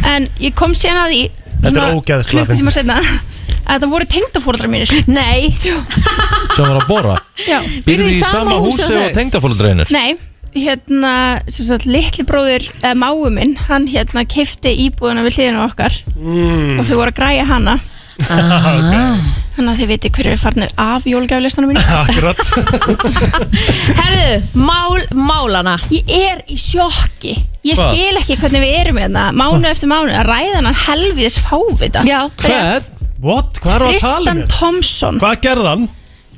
K: En ég kom sérna að því
E: Þetta er ógeðslega
K: Klukkutíma seinna Að það voru tengdafóreldrar mínir
C: Nei
D: sem var að bora
K: Já
D: Býrðu í sama húsi og tengdafólundreinir
K: Nei, hérna, sem sagt, litli bróður eh, máu minn Hann hérna kefti íbúðuna við hliðinu okkar
E: mm.
K: Og þau voru að græja hana Þannig að þið viti hverju er farnir af jólgjáflistanum mínu
E: Akkurat
C: Herðu, mál, málana
K: Ég er í sjokki Ég
D: Hvað?
K: skil ekki hvernig við erum hérna Mánu eftir mánu að ræða hann helviðis fávita
C: Já
E: Hvað? What? Hvað er að tala
K: Tristan
E: um?
K: Thompson
E: Hvað gerði hann?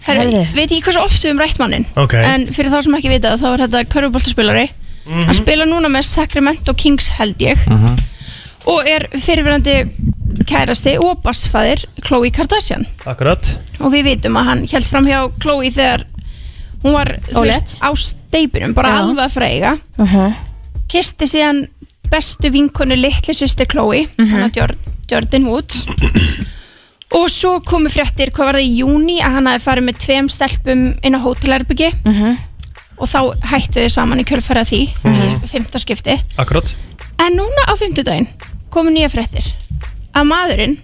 K: Herri, Veit ekki hversu oft við um rætt mannin
E: Ok.
K: En fyrir þá sem ekki vita þá er þetta körfuboltaspilari Hann spilar núna með Sacramento Kings held ég Og er fyrirverandi kærasti og bassfæðir Khloe Kardashian
E: Akkurat
K: Og við vitum að hann held fram hjá Khloe þegar hún var þú
C: Ólétt.
K: á steipinum Bara
C: Já.
K: alveg að freyga
C: uh -huh.
K: Kisti síðan bestu vinkonu litli sýstir Chloe
C: Mhm.
K: mm -hmm. Jör, Jordan Wood og svo komu fréttir hvað var það í júni að hann hafi farið með tveim stelpum inn á hótelherbyggi
C: Mhm.
K: og þá hættu þau saman í kjölfæra því
C: Mhm.
K: í fymta skipti
E: Akkurat
K: en núna á fymtudaginn komu nýja fréttir að maðurinn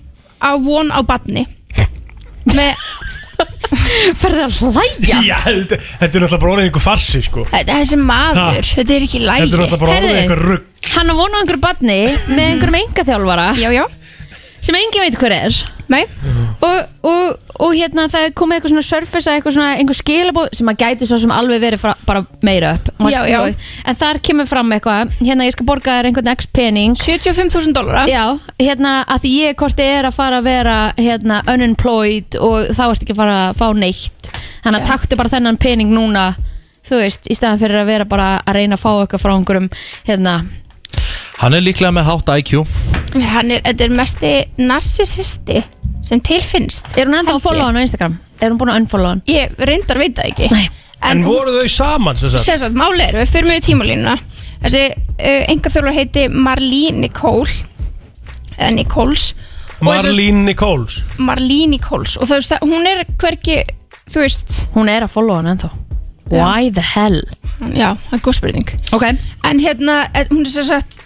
K: á von á badni með
C: Ferðu að hlæja
E: Já, þetta, þetta er náttúrulega bara orðið einhver farsi sko
K: þetta er þessi maður,
E: Ha.
K: þetta er ekki lægi
E: Þetta er náttúrulega bara orðið
C: Heyrðu.
E: einhver rugg
C: Hann á vonu á einhverju badni með einhverjum engaþjálfara
K: Mhm. já, já,
C: sem engin veit hver er
K: nei,
C: og, og, og hérna það er komið eitthvað svona surface eitthvað svona einhver skilabóð sem að gæti svo sem alveg verið fra, bara meira upp Maður
K: Já,
C: skil-
K: já.
C: en þar kemur fram eitthvað hérna ég skal borga þér einhvern x pening
K: 75.000 dólara
C: Já, hérna að því ég korti er að fara að vera hérna unemployed og þá ert ekki að fara að fá neitt þannig að
K: Já.
C: taktu bara þennan pening núna þú veist, í staðan fyrir að vera bara að reyna að fá eitthvað frá einhverjum hérna,
D: Hann er líklega með hátt IQ
K: hann er, þetta er mesti narsissisti sem tilfinnst
C: er hún ennþá að
K: Held ég.
C: followa hann á Instagram? Er hún búin að unfollowa hann?
K: ég reyndar veit það ekki
C: Nei.
E: En voru þau saman sem sagt?
K: sem sagt, máli er, við fyrir mig í tímalínuna þessi uh, enga þjólar heiti Marlene Nicole eða Nichols og þessi-
E: Marlene Nichols
K: Marlene Nichols og þú veist, það- hún er hverki þú veist,
C: Hún er að followa hann ennþá Why the hell?
K: já, það er góð spurning
C: Ok,
K: en hérna, eh, hún er sem sagt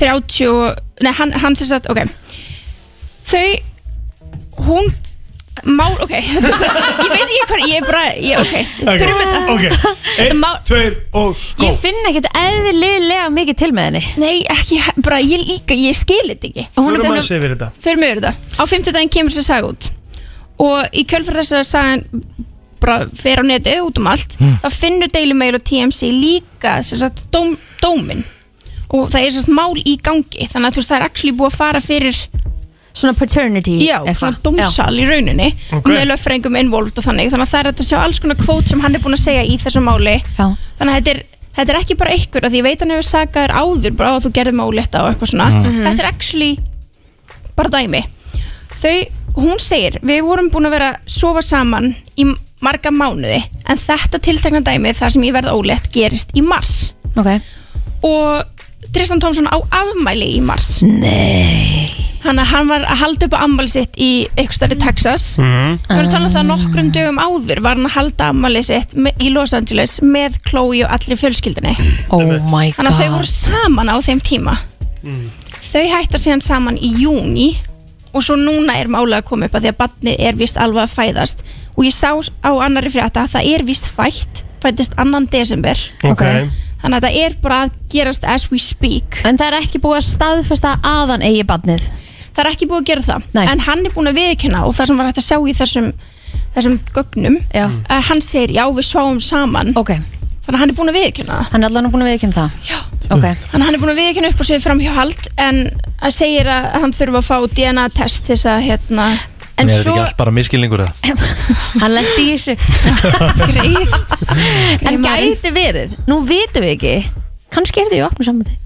K: 30, og- nei, hann, hann sem sagt ok, þau hún mál, ok ég veit ekki hvað, ég er bara ég, ok, byrjum við þetta
E: Ok,
K: Þetta
E: einn,
K: má-
E: tveir og go
C: ég finn ekkert eðlilega mikið til með henni
K: Nei, ekki, bara ég líka, ég skil þetta ekki
C: Og hún er
E: Þú erum að
C: sem
E: segja fyrir þetta
K: Fyrir mig eru þetta Á fimmtudaginn kemur sér saga út Og í kjölfæra þess að sagan bara fer á netið út um allt þá finnur Daily Mail og TMC líka sem sagt, dóm, dómin og það er sem sagt mál í gangi þannig að þú veist það er actually búið að fara fyrir
C: svona paternity
K: já,
C: eitthvað.
K: svona dómsal í rauninni
E: Ok.
K: og með löffrængum involved og þannig þannig að það er hægt að sjá alls konar kvót sem hann er búin að segja í þessu máli
C: Já.
K: þannig að þetta er Þetta er ekki bara einhver að því ég veit hann hefur sagaður áður bara að þú gerði málétta og eitthvað svona. Þetta er actually bara dæmi. þau, hún segir við vorum búin að vera að sofa saman í marga mánuði en þetta tiltekna dæmi þar sem ég verð ólétt gerist í mars
C: okay.
K: og Tristan Thompson á afmæli í mars
C: Nei
K: hann, hann var að halda upp á afmæli sitt í eitthvað stærri Texas
M: Mhm.
K: við vorum að tala um það nokkrum dögum áður var hann að halda afmæli sitt me- í Los Angeles með Chloe og allir fjölskyldinni
C: Oh my god
K: þannig að þau voru saman á þeim tíma þau hættar síðan saman í júni og svo núna er mála að koma upp að því að barnið er vist alveg að fæðast og ég sá á annari frétta að það er vist fætt fættist annan desember
E: Ok.
K: þannig að það er bara að gerast as we speak
C: en það er ekki búið að staðfesta aðan eigi barnið
K: það er ekki búið að gera það Nei. en hann er búin að viðkynna og það sem var hægt að sjá í þessum þessum gögnum
C: já.
K: að hann segir já við sváum saman
C: okay.
K: Mm. þannig að hann er búin að viðkynna það
C: hann er allan búin að viðkynna það
K: já.
C: okay.
K: Þannig að hann er búin að viðkynna upp og segja framhjóhald en að segir að hann þurfa að fá DNA test til þess að hérna en
D: er þetta
K: svo
D: ekki allt bara miskilningur eða?
C: hann lendi í þessu
K: greið
C: en gæti verið, nú vitum við ekki kannski er þið í opnum sambandi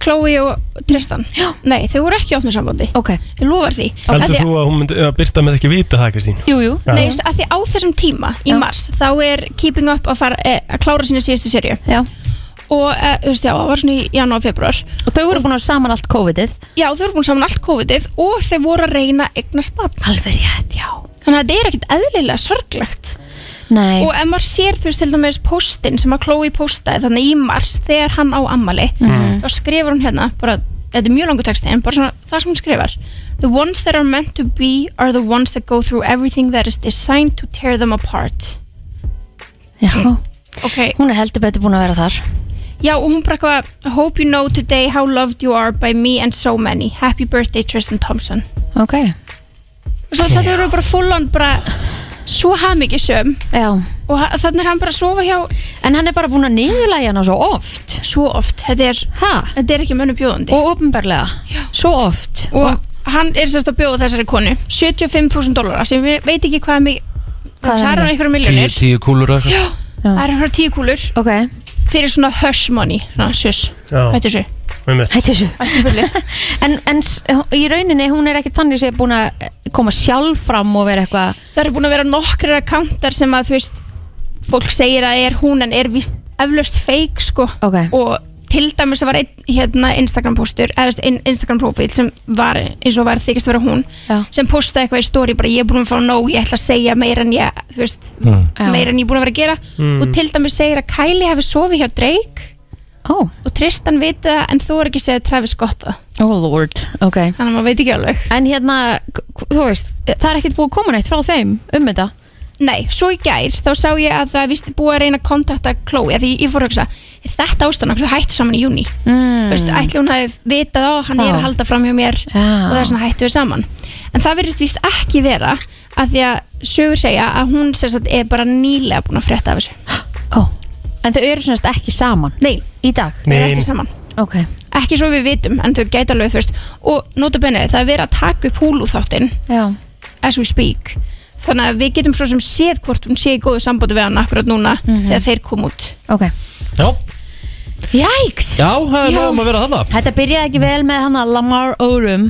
K: Chloe og Tristan já. Nei, þau voru ekki í opnu sambandi
C: okay.
K: Ég lofar því Af
E: Heldur
K: því-
E: þú að hún myndi, að Birta myndi ekki vita það, Kristín?
K: Jú, jú,
E: Já.
K: nei, just, að því á þessum tíma í mars þá er Keeping Up að, fara, eh, að klára sína síðustu serju
C: Já
K: Og, eh, þú veist, já, það var svona í janúar, februar
C: Og þau voru búin að saman allt COVID-ið
K: Já, þau voru búin saman allt COVID-ið og þau voru að reyna að eignast barn
C: Alveg rétt, já
K: Þannig að þetta er ekkit eðlilega sorglegt
C: Nei.
K: Og ef maður sér þú veist til dæmis postin sem að Chloe postaði þannig í mars þegar hann á ammali
M: Mhm.
K: þá skrifur hún hérna bara, þetta er mjög langur texti en bara svona það sem hún skrifar The ones that are meant to be are the ones that go through everything that is designed to tear them apart
C: Já,
K: okay.
C: hún er heldur betur búin að vera þar
K: Já og hún bara eitthvað I hope you know today how loved you are by me and so many Happy birthday Tristan Thompson
C: Ok
K: og svo þetta eru bara full on bara svo hamingisöm
C: Já
K: og ha- þannig er hann bara að sofa hjá
C: En hann er bara búin að niðurlæja hana svo oft
K: Svo oft, þetta er, þetta er ekki mönnu bjóðandi
C: Og ofnbarlega, svo oft
K: og, hann er sérst að bjóða þessari konu 75.000 dólarar sem ég veit ekki hvað mig
C: Hvað
K: það
C: er
K: er hann
C: mikið?
K: einhverja
D: Tíu,
K: miljonir
D: tíu kúlur eða eitthvað?
K: það er einhverja tíu kúlur
C: okay.
K: fyrir svona hush money svona sjöss
E: Já.
K: hættu þessu
C: Hættu þessu
K: Hættu þessu
C: en, en s- í rauninni, hún er ekki þannig sé búin að koma sjálf fram og vera eitthvað
K: það eru búin að vera nokkrir akkántar sem að þú veist fólk segir að er hún en er víst eflaust feik sko
C: okay.
K: og til dæmis var einn hérna Instagram postur eða þú veist, ein- Instagram profil sem var eins og var þykist að vera hún
C: Já.
K: sem postaði eitthvað í story bara ég er búin að fá nóg, ég ætla að segja meira en ég þú veist,
C: Já.
K: meira en ég er búin að vera að gera
C: Mm.
K: og til dæmis segir að Kylie hefði sofið hjá Drake
C: oh.
K: og Tristan viti það en þú er ekki segið Travis Scott það
C: Oh lord, ok
K: Þannig að maður veit ekki alveg
C: En hérna, k- k- þú veist, það er ekkert búið að koma neitt frá þeim um þetta
K: Nei, svo í gær þá sá ég að það er vist búið að reyna að kontakta Chloe að því ég fór að hugsa, er þetta ástæðan að þau hættu saman í júni?
C: Mm.
K: Þú veist, ætli hún hafi vitað á, hann er
C: Já.
K: að halda fram hjá mér og þess vegna hættu við saman. En það verðist vist ekki vera að því að sögur segja að hún sem sagt er bara nýlega búin að frétta af þessu.
C: En þau eru svona ekki saman
K: Nei,
C: í dag
K: Þau eru ekki saman.
C: Ok,
K: Ekki svo við vitum, en þau gæta alveg, þú veist. Og nota benni, það er verið að taka upp húlu þáttinn
C: já
K: as we speak þannig að við getum svo sem séð hvort hún sé í góðu sambandi við hann akkurat núna þegar þeir kom út
C: Ok
D: Já.
C: Jæks
D: Já, það er nóg um að vera þarna
C: Þetta byrjaði ekki vel með hana Lamar Orum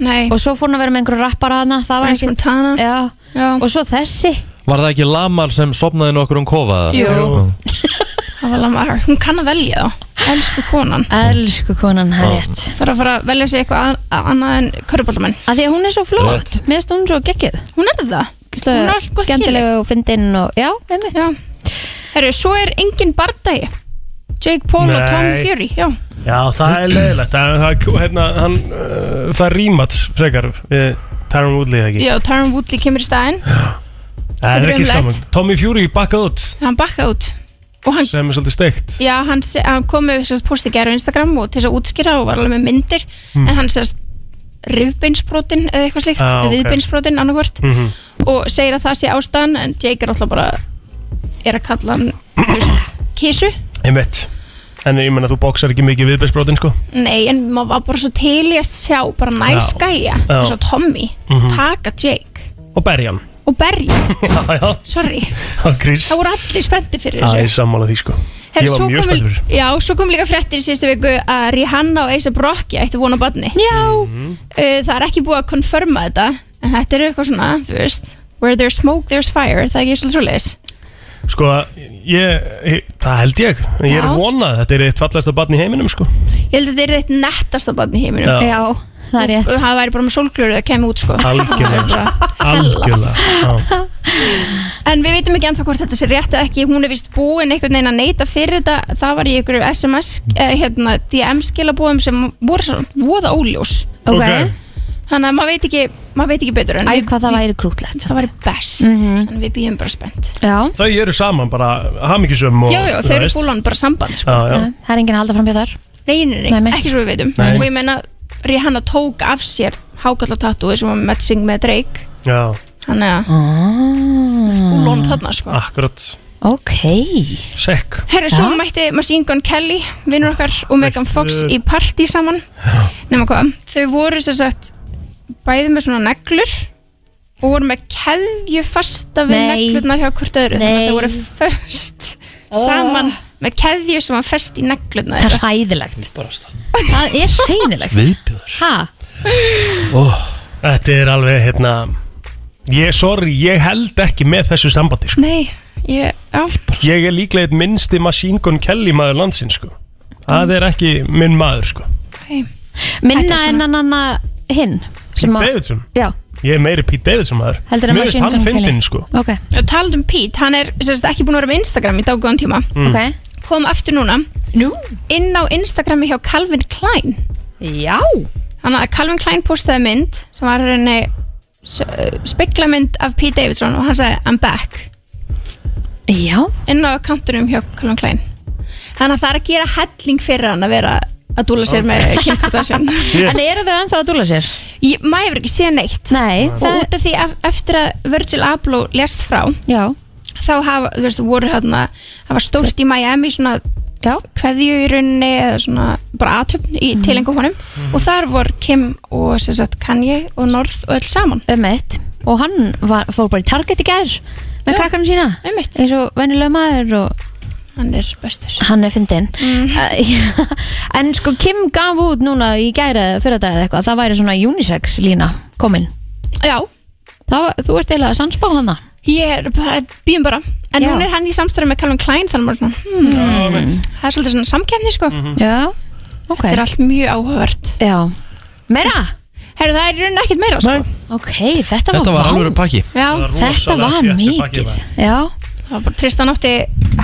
K: Nei
C: Og svo fór hann að vera með einhverju rappara hana Það var
K: French
C: ekki
K: Montana
C: já.
K: Já.
C: Og svo þessi
D: Var það ekki Lamar sem sopnaði nokkur um kofa? eða?
K: Jú. það var Lamar, hún kann að velja þá elsku konan
C: Elsku konan, það er rétt
K: þarf að fara að velja sér eitthvað að- að- annað en körubaldamenn
C: að því að hún er svo flott Mér finnst hún svo geggið
K: Hún er það
C: Gíslega,
K: Hún er allt gott
C: Skemmtilega og fyndinn og Já, einmitt
K: já. herru, svo er engin bardagi Jake Paul og Tom
E: Nei.
K: Fury já.
E: Já, það er leiðilegt. Það, það, hérna, hann, uh, það rýmat frekar við Tyron Woodley, eða ekki?
K: já, Tyron Woodley kemur í staðinn
E: Það er
K: þetta er
E: ekki
K: ömurlegt.
E: skaman. Tommy Fury bakkað út,
K: hann bakkaði út og hann
E: sem er svolítið steikt.
K: Já, hann, se- hann kom með sérst posti gæri á Instagram og til þess að útskýra og var alveg með myndir
E: Mm.
K: en hann sérst rifbeinsbrotin eða eitthvað slíkt,
E: Ah, ok.
K: ah, okay. viðbeinsbrotin annarkvort
E: Mhm.
K: og segir að það sé ástæðan en Jake er alltaf bara er að kalla hann, þú veist, kísu
E: Einmitt. En ég menna, þú boksar ekki mikið viðbærsbrotin, sko.
K: Nei, en maður var bara svo til í að sjá bara
E: Já.
K: næskæja,
E: Já.
K: eins og Tommy
E: Mhm.
K: taka Jake
E: Og berja hann.
K: og berja
E: Já, já,
K: Sorry,
E: já, grís
K: það voru allir spennti fyrir
E: Það er
K: þessu
E: sammála því sko
K: Herri,
E: Ég var
K: svo
E: mjög
K: komu-
E: spennt fyrir
K: Já, svo kom líka fréttir í síðustu viku að Rihanna og Eisa Brokki ættu vona badni Já Eh, Það er ekki búið að konfirma þetta en þetta er eitthvað svona, þú veist Where there's smoke, there's fire, það er ekki svolítið svoleiðis
E: Sko, ég, ég, það held ég Ég er
K: Já.
E: vonað, þetta er eitt fallasta barn í heiminum sko
K: Ég held að þetta er eitt nettasta badni í heiminum
E: Já.
K: það er rétt Það væri bara með sólglöru að kemja út sko
E: Algjörlega, algjörlega já.
K: En við veitum ekki ennþá hvort þetta sé rétt eða ekki, hún er vist búin einhvern veginn að neyta fyrir þetta, það var í einhverju SMS, eh, hérna, DM skilabóðum sem voru svona voða óljós.
C: Ok. Ok.
K: Þannig að maður veit ekki, maður veit ekki betur. en
C: Æ,
K: við-
C: hvað það væri krútlegt
K: Það væri best, en við býðum bara spennt.
C: Já,
E: Þau eru saman bara hamingjussum og
K: Já, já, þau
E: þú
K: eru
E: veist.
K: fúlan bara samband, sko.
E: Já, já.
C: það er enginn að halda fram hjá þar
K: Nei, nei, nei,
C: Nei, nei.
K: ekki svo við veitum.
E: Nei.
K: Og ég meina, Rihanna tók af sér hákallatatúi sem var matching með Drake,
E: Já,
K: þannig að oh. fúlan þarna, sko.
E: akkurat
C: Ok
E: Sekk
K: Herra, svo mætti Machine Gun Kelly, vinnur okkar og Megan Fox í partí saman nema hvað, þau voru sem sagt bæði með svona neglur og voru með keðju fasta við
C: Nei.
K: neglurnar hjá hvort öðru þannig að
C: Nei. Oh.
K: þau voru föst saman með keðju sem var fest í neglurnar
C: Það er
K: þeirra.
C: hæðilegt
E: Barasta.
C: Það er hæðilegt
E: Viðbjör
C: Hæ?
E: Ó, Þetta er alveg, hérna Ég, sorry, ég held ekki með þessu sambandi sko.
K: Nei, ég, já
E: Ég er líklega eitt minnsti Machine Gun Kelly maður landsinn sko. Það er ekki minn maður sko.
C: Minna en hann hann hinn sem að-
E: Davidson
C: Já,
E: Ég er meiri Pete Davidson maður
C: heldur en
E: Mér finnst
C: Machine
E: hann
C: Gun Kelly
E: fyndinn sko.
C: Ok,
K: og talað um Pete, hann er sem sagt ekki búin að vera með Instagram í daggóðan tíma
E: Mm.
C: ok
K: kom aftur núna
C: Nú?
K: inn á Instagrami hjá Calvin Klein
C: Já
K: Þannig að Calvin Klein postaði mynd sem var henni eh, speglamynd af Pete Davidson og hann sagði I'm back
C: Já
K: inn á kantunum hjá Calvin Klein Þannig að það er að gera helling fyrir hann að vera að dúla sér með Kim Kardashian
E: Shit.
C: En eru þau ennþá að dúla sér?
K: Ég- Maður hefur ekki séð neitt
C: Nei,
K: og
C: það
K: út af því ef, eftir að Virgil Abloh lest frá
C: Já,
K: þá hafa, þú veist, voru hérna það var stórt í Miami svona
C: já
K: kveðju í rauninni eða svona bara aðtöfn í mm. tilengu honum og þar voru Kim og sem sagt, Kanye og North og öll saman
C: Um eitt Og hann var, fór bara í Target í gær Með
K: Já.
C: krakkanum sína
K: Einmitt.
C: Eins og venjulega maður og
K: hann er bestur
C: hann er fyndinn mm. En sko Kim gaf út núna í gæra fyrir dag eða eitthvað Það væri svona unisex lína komin
K: já,
C: Það, var- Þú ert eiginlega að sansbá hana
K: ég er bara, býjum bara en
C: Já.
K: hún er hann í samstæðu með Calvin Klein þannig að maður er svona, hmm, það er svolítið svona samkefni sko,
C: Já, ok
K: þetta er allt mjög áhugavert
C: Já, meira
K: herru það er í rauninni ekkert meira sko
C: Ok, þetta var,
D: Þetta var
C: vá.
D: alveg pakki
K: já,
C: Þetta
E: Rosalega
C: var
E: þéttur pakki
C: mikið
E: var.
C: Já,
K: það var bara Tristan átti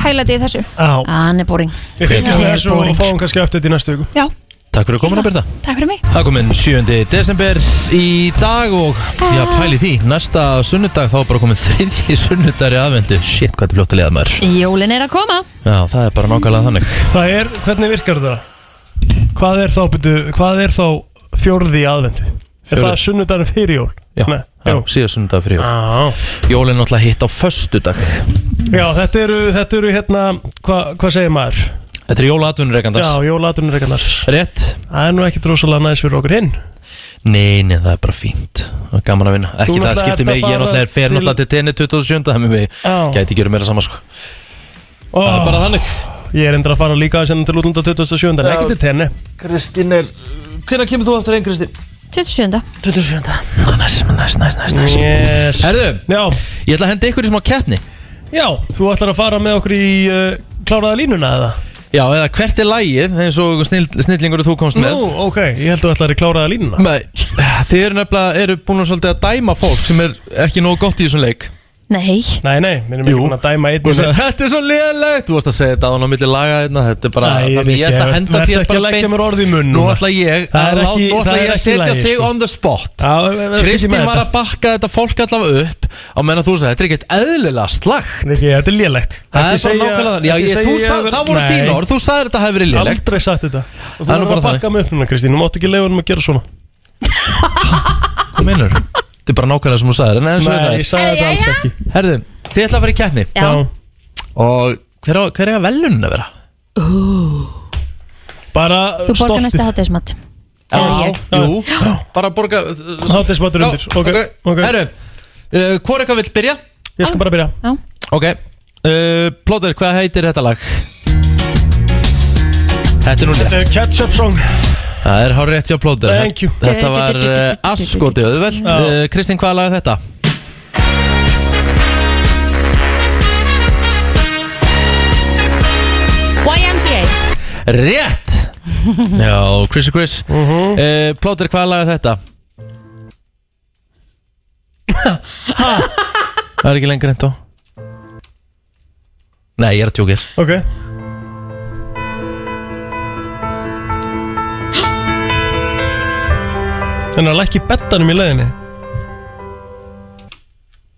K: hælæti í þessu
E: Já,
C: hann er boring
E: við fylgjum
C: Þetta Ah, er
E: þessu og
C: boring, sko.
E: fáum kannski update í næstu viku
K: já,
D: Takk fyrir að koma að byrja
K: takk fyrir mig
D: Það er komin 7. desember í dag og já, pæli því, næsta sunnudag þá er bara komin þriðji sunnudag í aðvendu Shit, hvað þetta er fljótt að liða maður
C: Jólin er að koma
D: Já, það er bara nákvæmlega þannig
E: Það er, hvernig virkar þetta? Hvað er þá, byrju, hvað er þá fjórði í aðvendu? Er
D: Fjórði.
E: það sunnudarinn fyrir jól?
D: Já,
E: Nei,
D: já
E: jú.
D: síðan sunnudag fyrir jól
E: Já.
D: Jólin er náttúrulega hitt á föstudag
E: Já, þetta eru, þetta eru hérna, hva, hvað segir maður?
D: Þetta er jólatvinnurreikandars
E: Já, jólatunurreikandar.
D: Rétt?
E: Það er nú ekkit rosalega næs fyrir okkur hinn.
D: Nei, nei, það er bara fínt Það er gaman að vinna Ekki það
E: náttúrulega
D: skiptir
E: ert að
D: mig, ég
E: fara
D: náttúrulega er fer
E: til-
D: náttúrulega til tenni 27. Þannig við
E: Já.
D: gæti ekki verið meira saman sko
E: Ó,
D: Það er bara þannig
E: Ég er endur að fara líka að senda til útlunda 27. en
D: Já.
E: ekki til tenni.
D: Kristín er, hvenær kemur þú aftur einn Kristín?
C: 27.
D: 27. Næs, næs, næs, næs, næs
E: Yes.
D: Herðu,
E: Já,
D: Ég ætla að henda ykkur í smá keppni
E: já, þú ætlar að fara með okkur í uh, kláraða línuna eða?
D: Já, eða hvert er lægið eins og snill, snillingur þú komst
E: Nú, ok, ég held að þú ætlar í kláraða línuna.
D: með Þið eru nefnilega, eru búin að svolítið að dæma fólk sem er ekki nógu gott í þessum leik
C: Nei,
E: Nei, nei, við
D: Jú.
E: erum ekki búin að dæma
D: Þú
E: einnig
D: sagði, þetta er svo liðlegt Þú varst að segja þetta á hann á milli laga þetta Þetta er bara,
E: Nei,
D: þannig ég ætla að
E: Rikki,
D: henda
E: vertu
D: þér
E: ekki að
D: bara
E: leggja
D: beint
E: mér orð í munn
D: Nú ætla ég
E: Það er
D: að,
E: ekki-
D: ekki, nú ætla
E: það
D: ég
E: er
D: að
E: ekki
D: setja
E: lagi,
D: þig
E: sko.
D: on the spot Kristín
E: Kristín
D: var að bakka þetta fólk allavega upp á meðan þú sagði, þetta er ekkert eðlilega slagt
E: Rikki, þetta er lélegt
D: Það
E: Ekki
D: er bara
E: segja-
D: nákvæmlega þannig Já,
E: ekki
D: ég,
E: segja
D: þú
E: ég
D: sagði,
E: verð-
D: það voru þín
E: Nei,
D: orð, þú sagði þetta hefði verið liðlegt
E: Aldrei sagt þetta Og Þú
D: Það er nú
E: verður að
D: bara
E: bakka mig upp núna Kristín Nú mátt ekki leiða honum að gera svona
D: Hvað meinar? Þetta er bara nákvæmlega sem þú sagði En eins og
E: Nei,
D: það
E: ég
D: er
E: sagði þetta alls ekki
D: Herðu, þið ætla að fara í keppni
C: já,
D: Og hver, á- hver er að velunin að vera?
E: Bara
C: þú borgar næsta
E: stoltið
C: hátíðismat
D: Já, jú, bara borga
E: Hátismatur undir Ok, ok
D: Herru, uh, Hvor eitthvað vill byrja?
E: Ég skal bara byrja
C: Já.
D: Ok, uh, Plóter, hvað heitir þetta lag? Þetta er nú
E: Þetta er
D: létt
E: Ketchup Song
D: Það er hár rétt hjá Plóter
E: Thank you.
D: Þetta var uh, askoti auðveld
E: Já.
D: uh, Kristín, hvaða lag er þetta?
C: YMCA
D: Rétt! Já, Chrissy Chris uh
E: Mhm.
D: Plóter, hvaða lag er þetta? Það er ekki lengur enn þá Nei, ég er að tjókir
E: Ok Þannig að lækki bettanum í leiðinni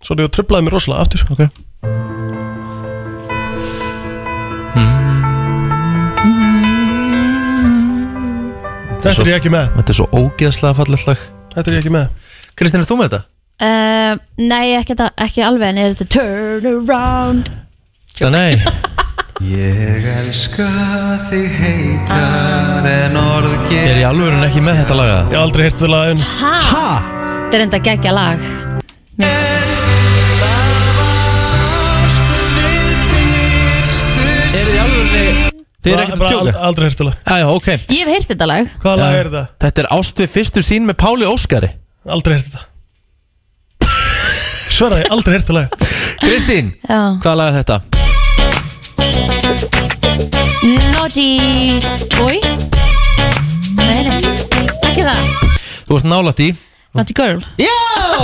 E: Svo þú tröflaði mér rosalega aftur
D: Ok
E: Þetta er ég ekki með
D: Þetta er svo ógeðslega fallið lag
E: Þetta er ég ekki með
D: Kristín, er þú með þetta?
C: uh, Nei, ekki, þetta- ekki alveg en er þetta turn around
D: Það nei
A: Ég elska þig heitar en orð
D: Ég er í alvörun ekki með þetta laga
E: Ég hef aldrei hirt það lagin
C: Ha? ha? Þetta er enda geggja lag
A: Er
D: þið alveg Þið er ekkert að
E: Bara
D: tjóka
E: ald- Aldrei hirt það lag
D: Æja, ok Eh,
C: Ég hef heyrt þetta lag
E: Hvaða lag er þetta?
D: Þetta er ást við fyrstu sín með Páli Óskari
E: Aldrei hirt þetta Svara ég aldrei hirt það lag
D: Kristín,
C: Já.
D: hvaða lag er þetta?
C: Naughty Boy Nei, nei, ekki það
D: Þú ert nálætt í
C: Naughty Girl
D: Já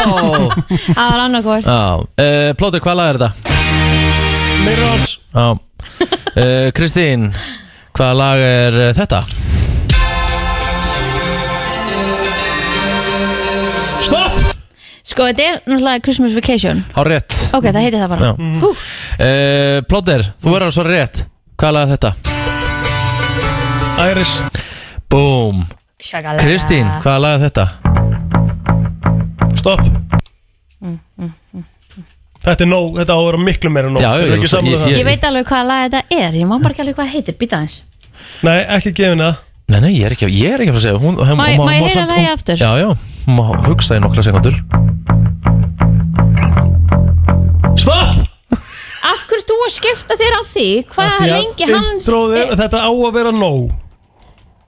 C: Það var annarkvort
D: Já, uh, Plóter, hvaða lag er þetta?
E: Mirrors
D: Já uh, Kristín, hvaða lag er eh, þetta?
E: Stopp
C: Sko, þetta er náttúrulega Christmas Vacation
D: Há rétt
C: Ok, það heiti það bara
D: Já.
C: Hú,
E: Mm.
D: uh, Plóter, þú verður svo rétt Hvaða lag er þetta?
E: Iris
D: Búm
C: shakalega.
D: Kristín, hvaða lag er þetta?
E: Stopp Þetta er nóg Þetta á að vera miklu meira en nóg
D: Já,
E: Eruð þið
D: já,
E: ekki
D: svo-
E: sammála um
D: ég-
E: það?
C: Ég veit alveg hvaða lag þetta er Ég má bara ekki alveg hvað það heitir, býta aðeins
E: Nei, ekki gefin það
D: Nei, nei, ég er ekki, ég er ekki að fara að segja hún, hún, hún,
C: Má- má ég
D: hún-
C: heyra
D: samt-
C: lagið
D: hún-
C: aftur?
D: Já, já, hún má hugsa í nokkra sekundur
E: Stopp
C: Af hverju þú að skipta þér á því
E: Af
C: Hvað
E: því að
C: lengi eh, hann
E: Introð er Þetta á að vera nóg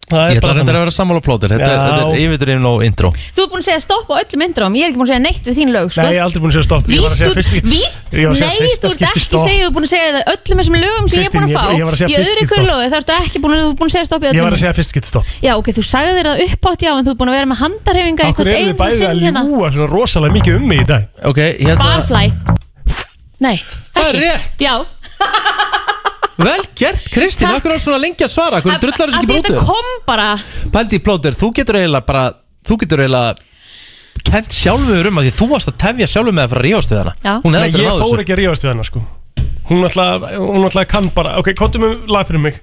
E: Það
D: Ég
E: er
D: ætla
E: bara
D: að reynda
E: þannig.
D: að vera sammála plótir Þetta er,
E: Já.
D: þetta er yfirtur inn á intro
C: Þú er búin að segja stopp á öllum indróm Ég er ekki búin að segja neitt við þín lög sko.
E: Nei, ég er aldrei búin að segja stopp Ég
C: Víst,
E: var að segja
C: þú-
E: fyrst í-
C: víst,
E: Ég var að segja
C: nei,
E: fyrsta
C: þú ert
E: skipti
C: ekki
E: stopp.
C: segja Þú er búin að segja það öllum þessum lögum sem ég er búin að
E: Kristín,
C: fá
E: ég- ég var að segja
C: Í
E: fyrst
C: öðru
E: skipti stopp.
C: kurlu, þá ertu ekki búin að, þú ert búin að segja stopp í
E: Ég var
C: öllum
E: að segja fyrst gett stopp
C: Já, ok, þú sagði þér það uppátt já en þú er búin að vera með handarhefingar
E: Akkur eru þið bæði að ljúa svona rosalega mikið um mig í dag
D: Ok, hérna
C: hérna. Barfly Nei,
D: Það er rétt,
C: já
D: vel gert Kristín,
C: Takk.
D: akkur er svona lengi að svara Akkur drullar
C: Af
D: þessu
C: því
D: ekki
C: Þetta
D: brútið
C: kom bara
D: Pældi í plótir, þú getur eiginlega bara Þú getur eiginlega Kent sjálfur um að því þú varst að tefja sjálfur með að fara að rífast við hana
C: Já.
D: Hún
E: Nei,
D: hefði aldrei
E: ég
D: náðu
E: fór
D: þessu
E: ekki að rífast við hennar sko Hún alltaf, hún alltaf kann bara Ok, kontum um lag fyrir mig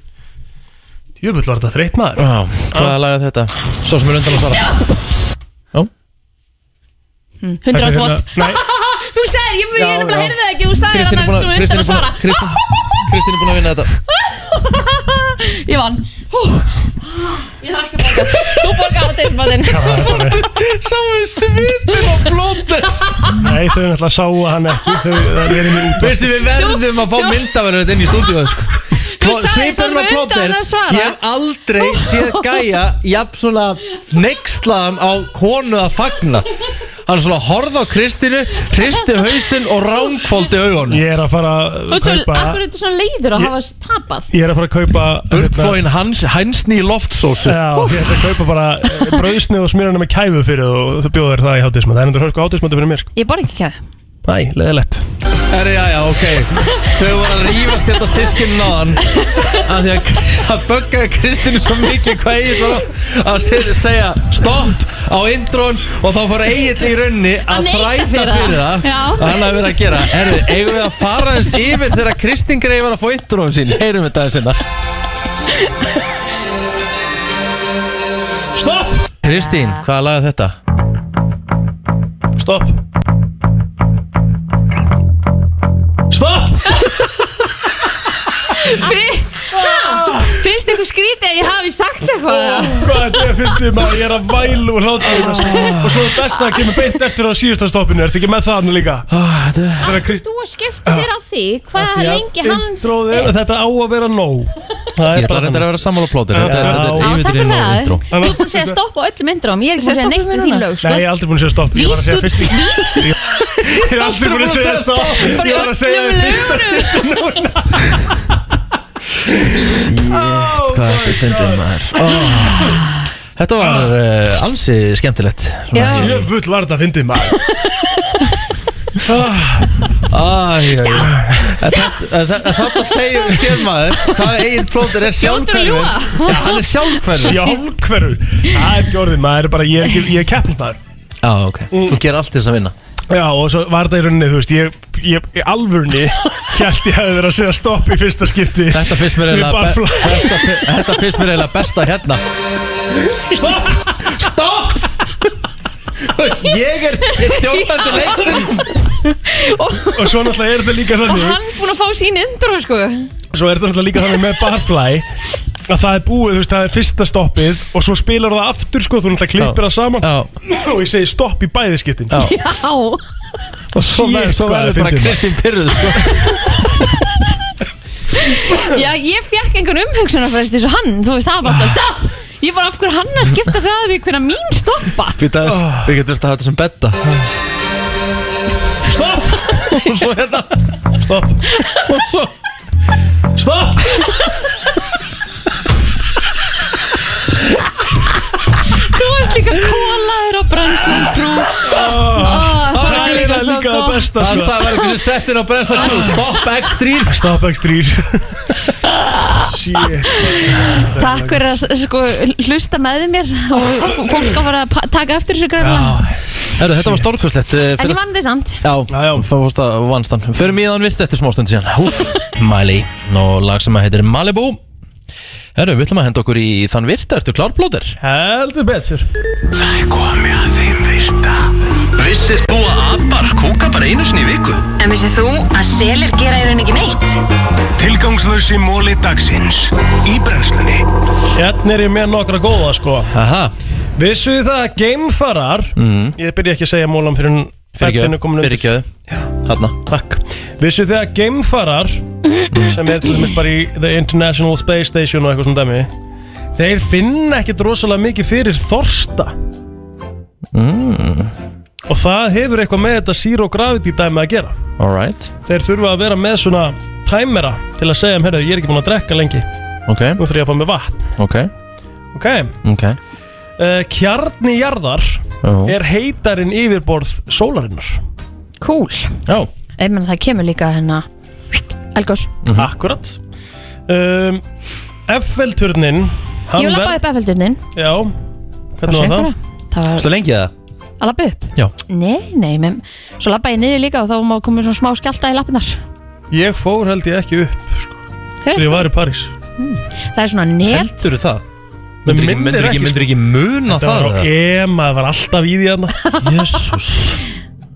E: Jöfull var þetta hérna- þreytt maður
D: Já, Hvaða lag er þetta? Svo sem er undan að svara Já,
C: 100 volt
E: Nei,
C: Þú sagðir, ég mjög
E: hérna- Já,
C: nefnilega heyrði
E: já. hérna-
C: það ekki Þú sagðir
D: Kristín
C: hann
D: er búin
C: að sem
D: að Kristín er
C: undan að
D: búin
C: svara
D: að Kristín- Kristín er búin að vinna þetta
C: Ég vann Hú. Ég þarf ekki að borga Þú borga á teismatinn
D: Sáðu svipur á plótir
E: nei þau náttúrulega sáu hann ekki Þau hérna það verið mér út
D: Veistu við verðum að fá
C: þú-
D: myndaverður inn í stúdíu sko. Pló-
C: sagðir
D: Svipurinn
C: svo
D: á
C: fyrir undan
D: plóter
C: að svara.
D: Ég hef aldrei séð gæja Jafn svona neykslaðan á konu að fagna Hann svona horfði á Kristínu Hristi hausinn og rángfóldi augunum
E: Ég er að fara
C: Þú
E: að
C: veist, svo- af hverju
E: kaupa
C: er þetta svona leiður að
E: Ég-
C: hafa tapað?
E: Ég er að fara að kaupa hérna,
D: Burtflóin hans, hænsni í loftsósu
E: Já, ég ætla að kaupa bara eh, brauðsnið og smýra hana með kæfu fyrir þú og þú bjóður það í hátíðismat Það er endur hörku hátíðismat fyrir mér sko.
C: Ég borga ekki kæðu
E: Næ, leðilegt
D: Herri, já, já, ok Þau voru að rífast þetta sískinn náðan Af því að það böggaði Kristínu svo mikið hvað Egil var að- að se- segja stopp á intron og þá fór Egil í raunni
C: Að
D: að
C: neita
D: þræta
C: fyrir
D: fyrir,
C: það.
D: það
C: Já.
D: og hann hafi verið að gera Herri, eigum við að fara þess yfir þegar Kristín Grey var að fá intron sín Heyrum við þetta hérna. sinna
E: Stopp,
D: Kristín, hvaða lag er þetta?
E: stopp Stopp
C: Finnst ykkur skrítið að ég hafi sagt eitthvað
E: Hvað þetta er að fyndi maður, ég er að vælu og hláta hérna sko. Og svo besta að kemur beint eftir á síðasta stoppinu Ertu ekki með það hann líka? Þetta er krist-
C: Þú að skipta þér á því
E: Af
C: hvað
E: því að
C: lengi hann
E: Intróið er að þetta á að vera nóg Ég
D: ætla reyndar að vera sammála plótir Þetta er- þetta er
C: Já, takk
D: yfirleitt
C: fyrir
D: nóg
C: það
D: intro.
C: Þú er búin að segja stopp á öllum myndrum Ég er ekki búin að segja neitt við þín lög sko.
E: Nei, ég er aldrei búin að segja stopp Ég var að segja fyrst í Ég er aldrei búin að segja stopp
C: Bara í
E: Ég var að segja
C: öllum
E: það í fyrsta skipti núna
D: Jétt, hvað þetta er fyndið maður Ó, Þetta var uh, ansi skemmtilegt
E: Ég full var þetta að fyndi maður
D: Þetta segir við sér maður Hvað eigin plótur er sjálfkverfur Já, hann er sjálfkverfur
E: Sjálfhverfur Það er ekki orðið maður er bara, Ég er, ekki- ég er keppnumdagur
D: Já, ok, þú gerir allt til þess að vinna
E: Já og svo var þetta í rauninni Þú veist ég, ég í alvörni Hjælt ég hefði verið að segja stopp í fyrsta skipti
D: Þetta finnst mér
E: Við
D: eiginlega
E: bara
D: be-
E: fla-
D: þetta fi- Þetta finnst mér eiginlega besta hérna Stopp Ég er stjórnandi leiksins
E: Og svo náttúrulega er þetta líka
C: Og
E: þannig
C: hann búin að fá sín intro sko
E: Svo er þetta náttúrulega líka þannig með Barfly að það er búið, þú veist, það er fyrsta stoppið og svo spilar það aftur, sko, þú náttúrulega klippir það saman og ég segi stopp í bæði skiptin
C: Já
D: Og svo
E: Shit,
D: verður- svo
E: hvað
D: verður
E: það
D: bara
E: er fyndið.
D: Kristín pyrruð sko.
C: Já, ég fekk einhvern umhugsunarfrest eins og hann Þú veist, það var bara alltaf stopp Ég bara af hverju hann að skipta sig að við hvernig mín stoppa
D: Við þess- við getum þetta þetta sem betta
E: Stopp!
D: Og svo hérna
E: Stopp!
D: Og svo
E: Stopp!
C: Þú varst líka kólaður á brennslan frú Það
E: Ah, Það er eiginlega líka það besta,
D: Það
E: sko
D: sagði verður hversu settin á brennsta kjú Stopp X3
E: Stopp X3 Shit
C: Takk fyrir að sko, hlusta með mér og f- fólk að fara að pa- taka eftir þessu greiflega
D: Herru, þetta var eh, stórkvöslegt
C: En ég vann þið samt
D: Já, það fórst að vannst hann Förum í þann vist eftir smástund síðan Húf, Miley Og lag sem að heitir Malibu Herru, við ætlum að henda okkur í þann virta Ertu klárblóður?
E: Heldur betur
B: Það er komið að þeim virta Vissir þú að abar kúka bara einu sinni í viku?
M: En vissið þú að selir gera í raun ekki neitt?
B: Tilgangslösi móli dagsins Í brennslunni
E: Hérna er ég með nokkra góða, sko
D: Aha
E: Vissu þið það að geimfarar
D: Mm.
E: Ég byrja ekki að segja mólam fyrir en
D: Fyrirgjöðu,
E: komin undir
D: fyrirgjöðu Þarna
E: Takk Vissu þið að geimfarar sem er til dæmis bara í The International Space Station og eitthvað svona dæmi þeir finna ekkit rosalega mikið fyrir þorsta
D: mm,
E: og það hefur eitthvað með þetta zero gravity dæmi að gera
D: Alright,
E: þeir þurfa að vera með svona tæmera til að segja um, herru, ég er ekki búin að drekka lengi
D: ok,
E: nú þurfa ég að fá mér vatn
D: ok,
E: ok,
D: ok
E: uh, kjarni jarðar
D: Já.
E: er heitarinn yfirborð sólarinnar
C: Cool
D: Já
C: Ég menn það kemur líka hérna Elgós
E: akkurat um, F-velturnin
C: Ég vil lappa upp Eiffelturnin
E: Já,
C: Bara
E: hvernig var
C: segja
E: það?
C: ykkur Það var
D: Stu lengi það?
C: að lappa upp
D: Já.
C: Nei, nei, menn Svo lappa ég niður líka og þá má komið svona smá skjálta í lappinar
E: Ég fór held ég ekki upp sko.
C: Hefur
E: Þegar ég var í París
C: Það er svona net
D: Heldur það? Myndur ekki, myndir ekki, myndir ekki muna
E: Þetta
D: það?
E: sko. var á
D: eða?
E: ema, það var alltaf í því hérna Jésús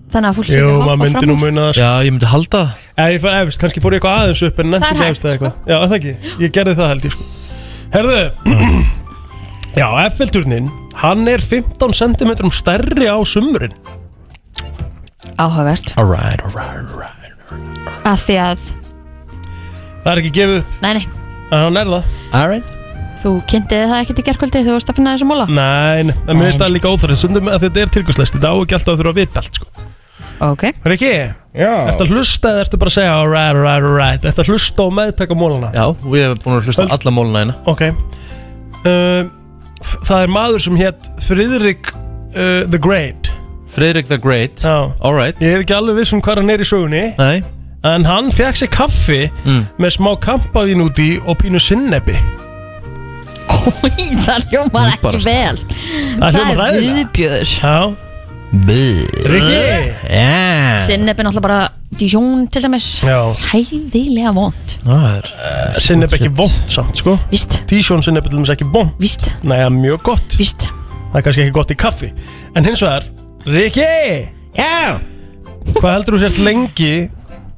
C: Þannig að fólk
E: Jú,
C: líka
E: maður
C: hoppa
E: myndi
C: fram
E: nú
C: úr.
E: muna það sko.
D: Já, ég myndi halda
E: Ef ég fór efst, kannski fór ég eitthvað aðeins upp En
C: Það er
E: nefndi ekki
C: hægt, sko.
E: efst eða eitthvað Já, er það ekki, ég gerði það held ég sko Herðu Já, F-velturnin, hann er 15 cm stærri á sumurinn
C: Áhugavert
D: Alright, alright, alright
C: Af því að,
E: Það er ekki gefið upp,
C: nei, nei
E: en hann er það
D: Alright
C: Þú kynntiði það ekkert í gerkvöldi þú varst að finna þessu
E: Mm.
C: móla
E: Nein, en mér finnst
C: Nei.
E: það líka óþærið Sundum að þetta er tilgjörslæst, þetta á ekki alltaf að þurfa að vita allt sko
C: Ok
E: Riki, ertu að hlusta eða ertu bara að segja alright, alright, alright Ertu að hlusta og meðtaka mólana?
D: Já, við hefum búin að hlusta á alla móluna hérna
E: Ok uh, f- Það er maður sem hétt Friðrik uh, the Great
D: Friðrik the Great
E: Já.
D: Alright
E: Ég er ekki alveg viss um hvað hann er í sögunni
D: Nei,
E: En hann fekk sér kaffi
D: Mm.
E: með smá kampavín út í og pínu sinnebi
C: Í, það hljómar ekki
D: Bara-
C: vel
E: Það hljómar
C: er
E: ræðilega.
C: viðbjöður
E: Já, Riki
D: Yeah
C: Sinneb er náttúrulega bara Dijon til dæmis
E: Já,
C: Hæðilega vond
D: Það er
E: sinneb ekki vond samt sko
C: Víst,
E: Tísjón sinnebi til dæmis ekki vond
C: víst,
E: Nei, það er mjög gott
C: víst
E: Það er kannski ekki gott í kaffi En hins vegar, Riki Já Hvað heldur þú sért lengi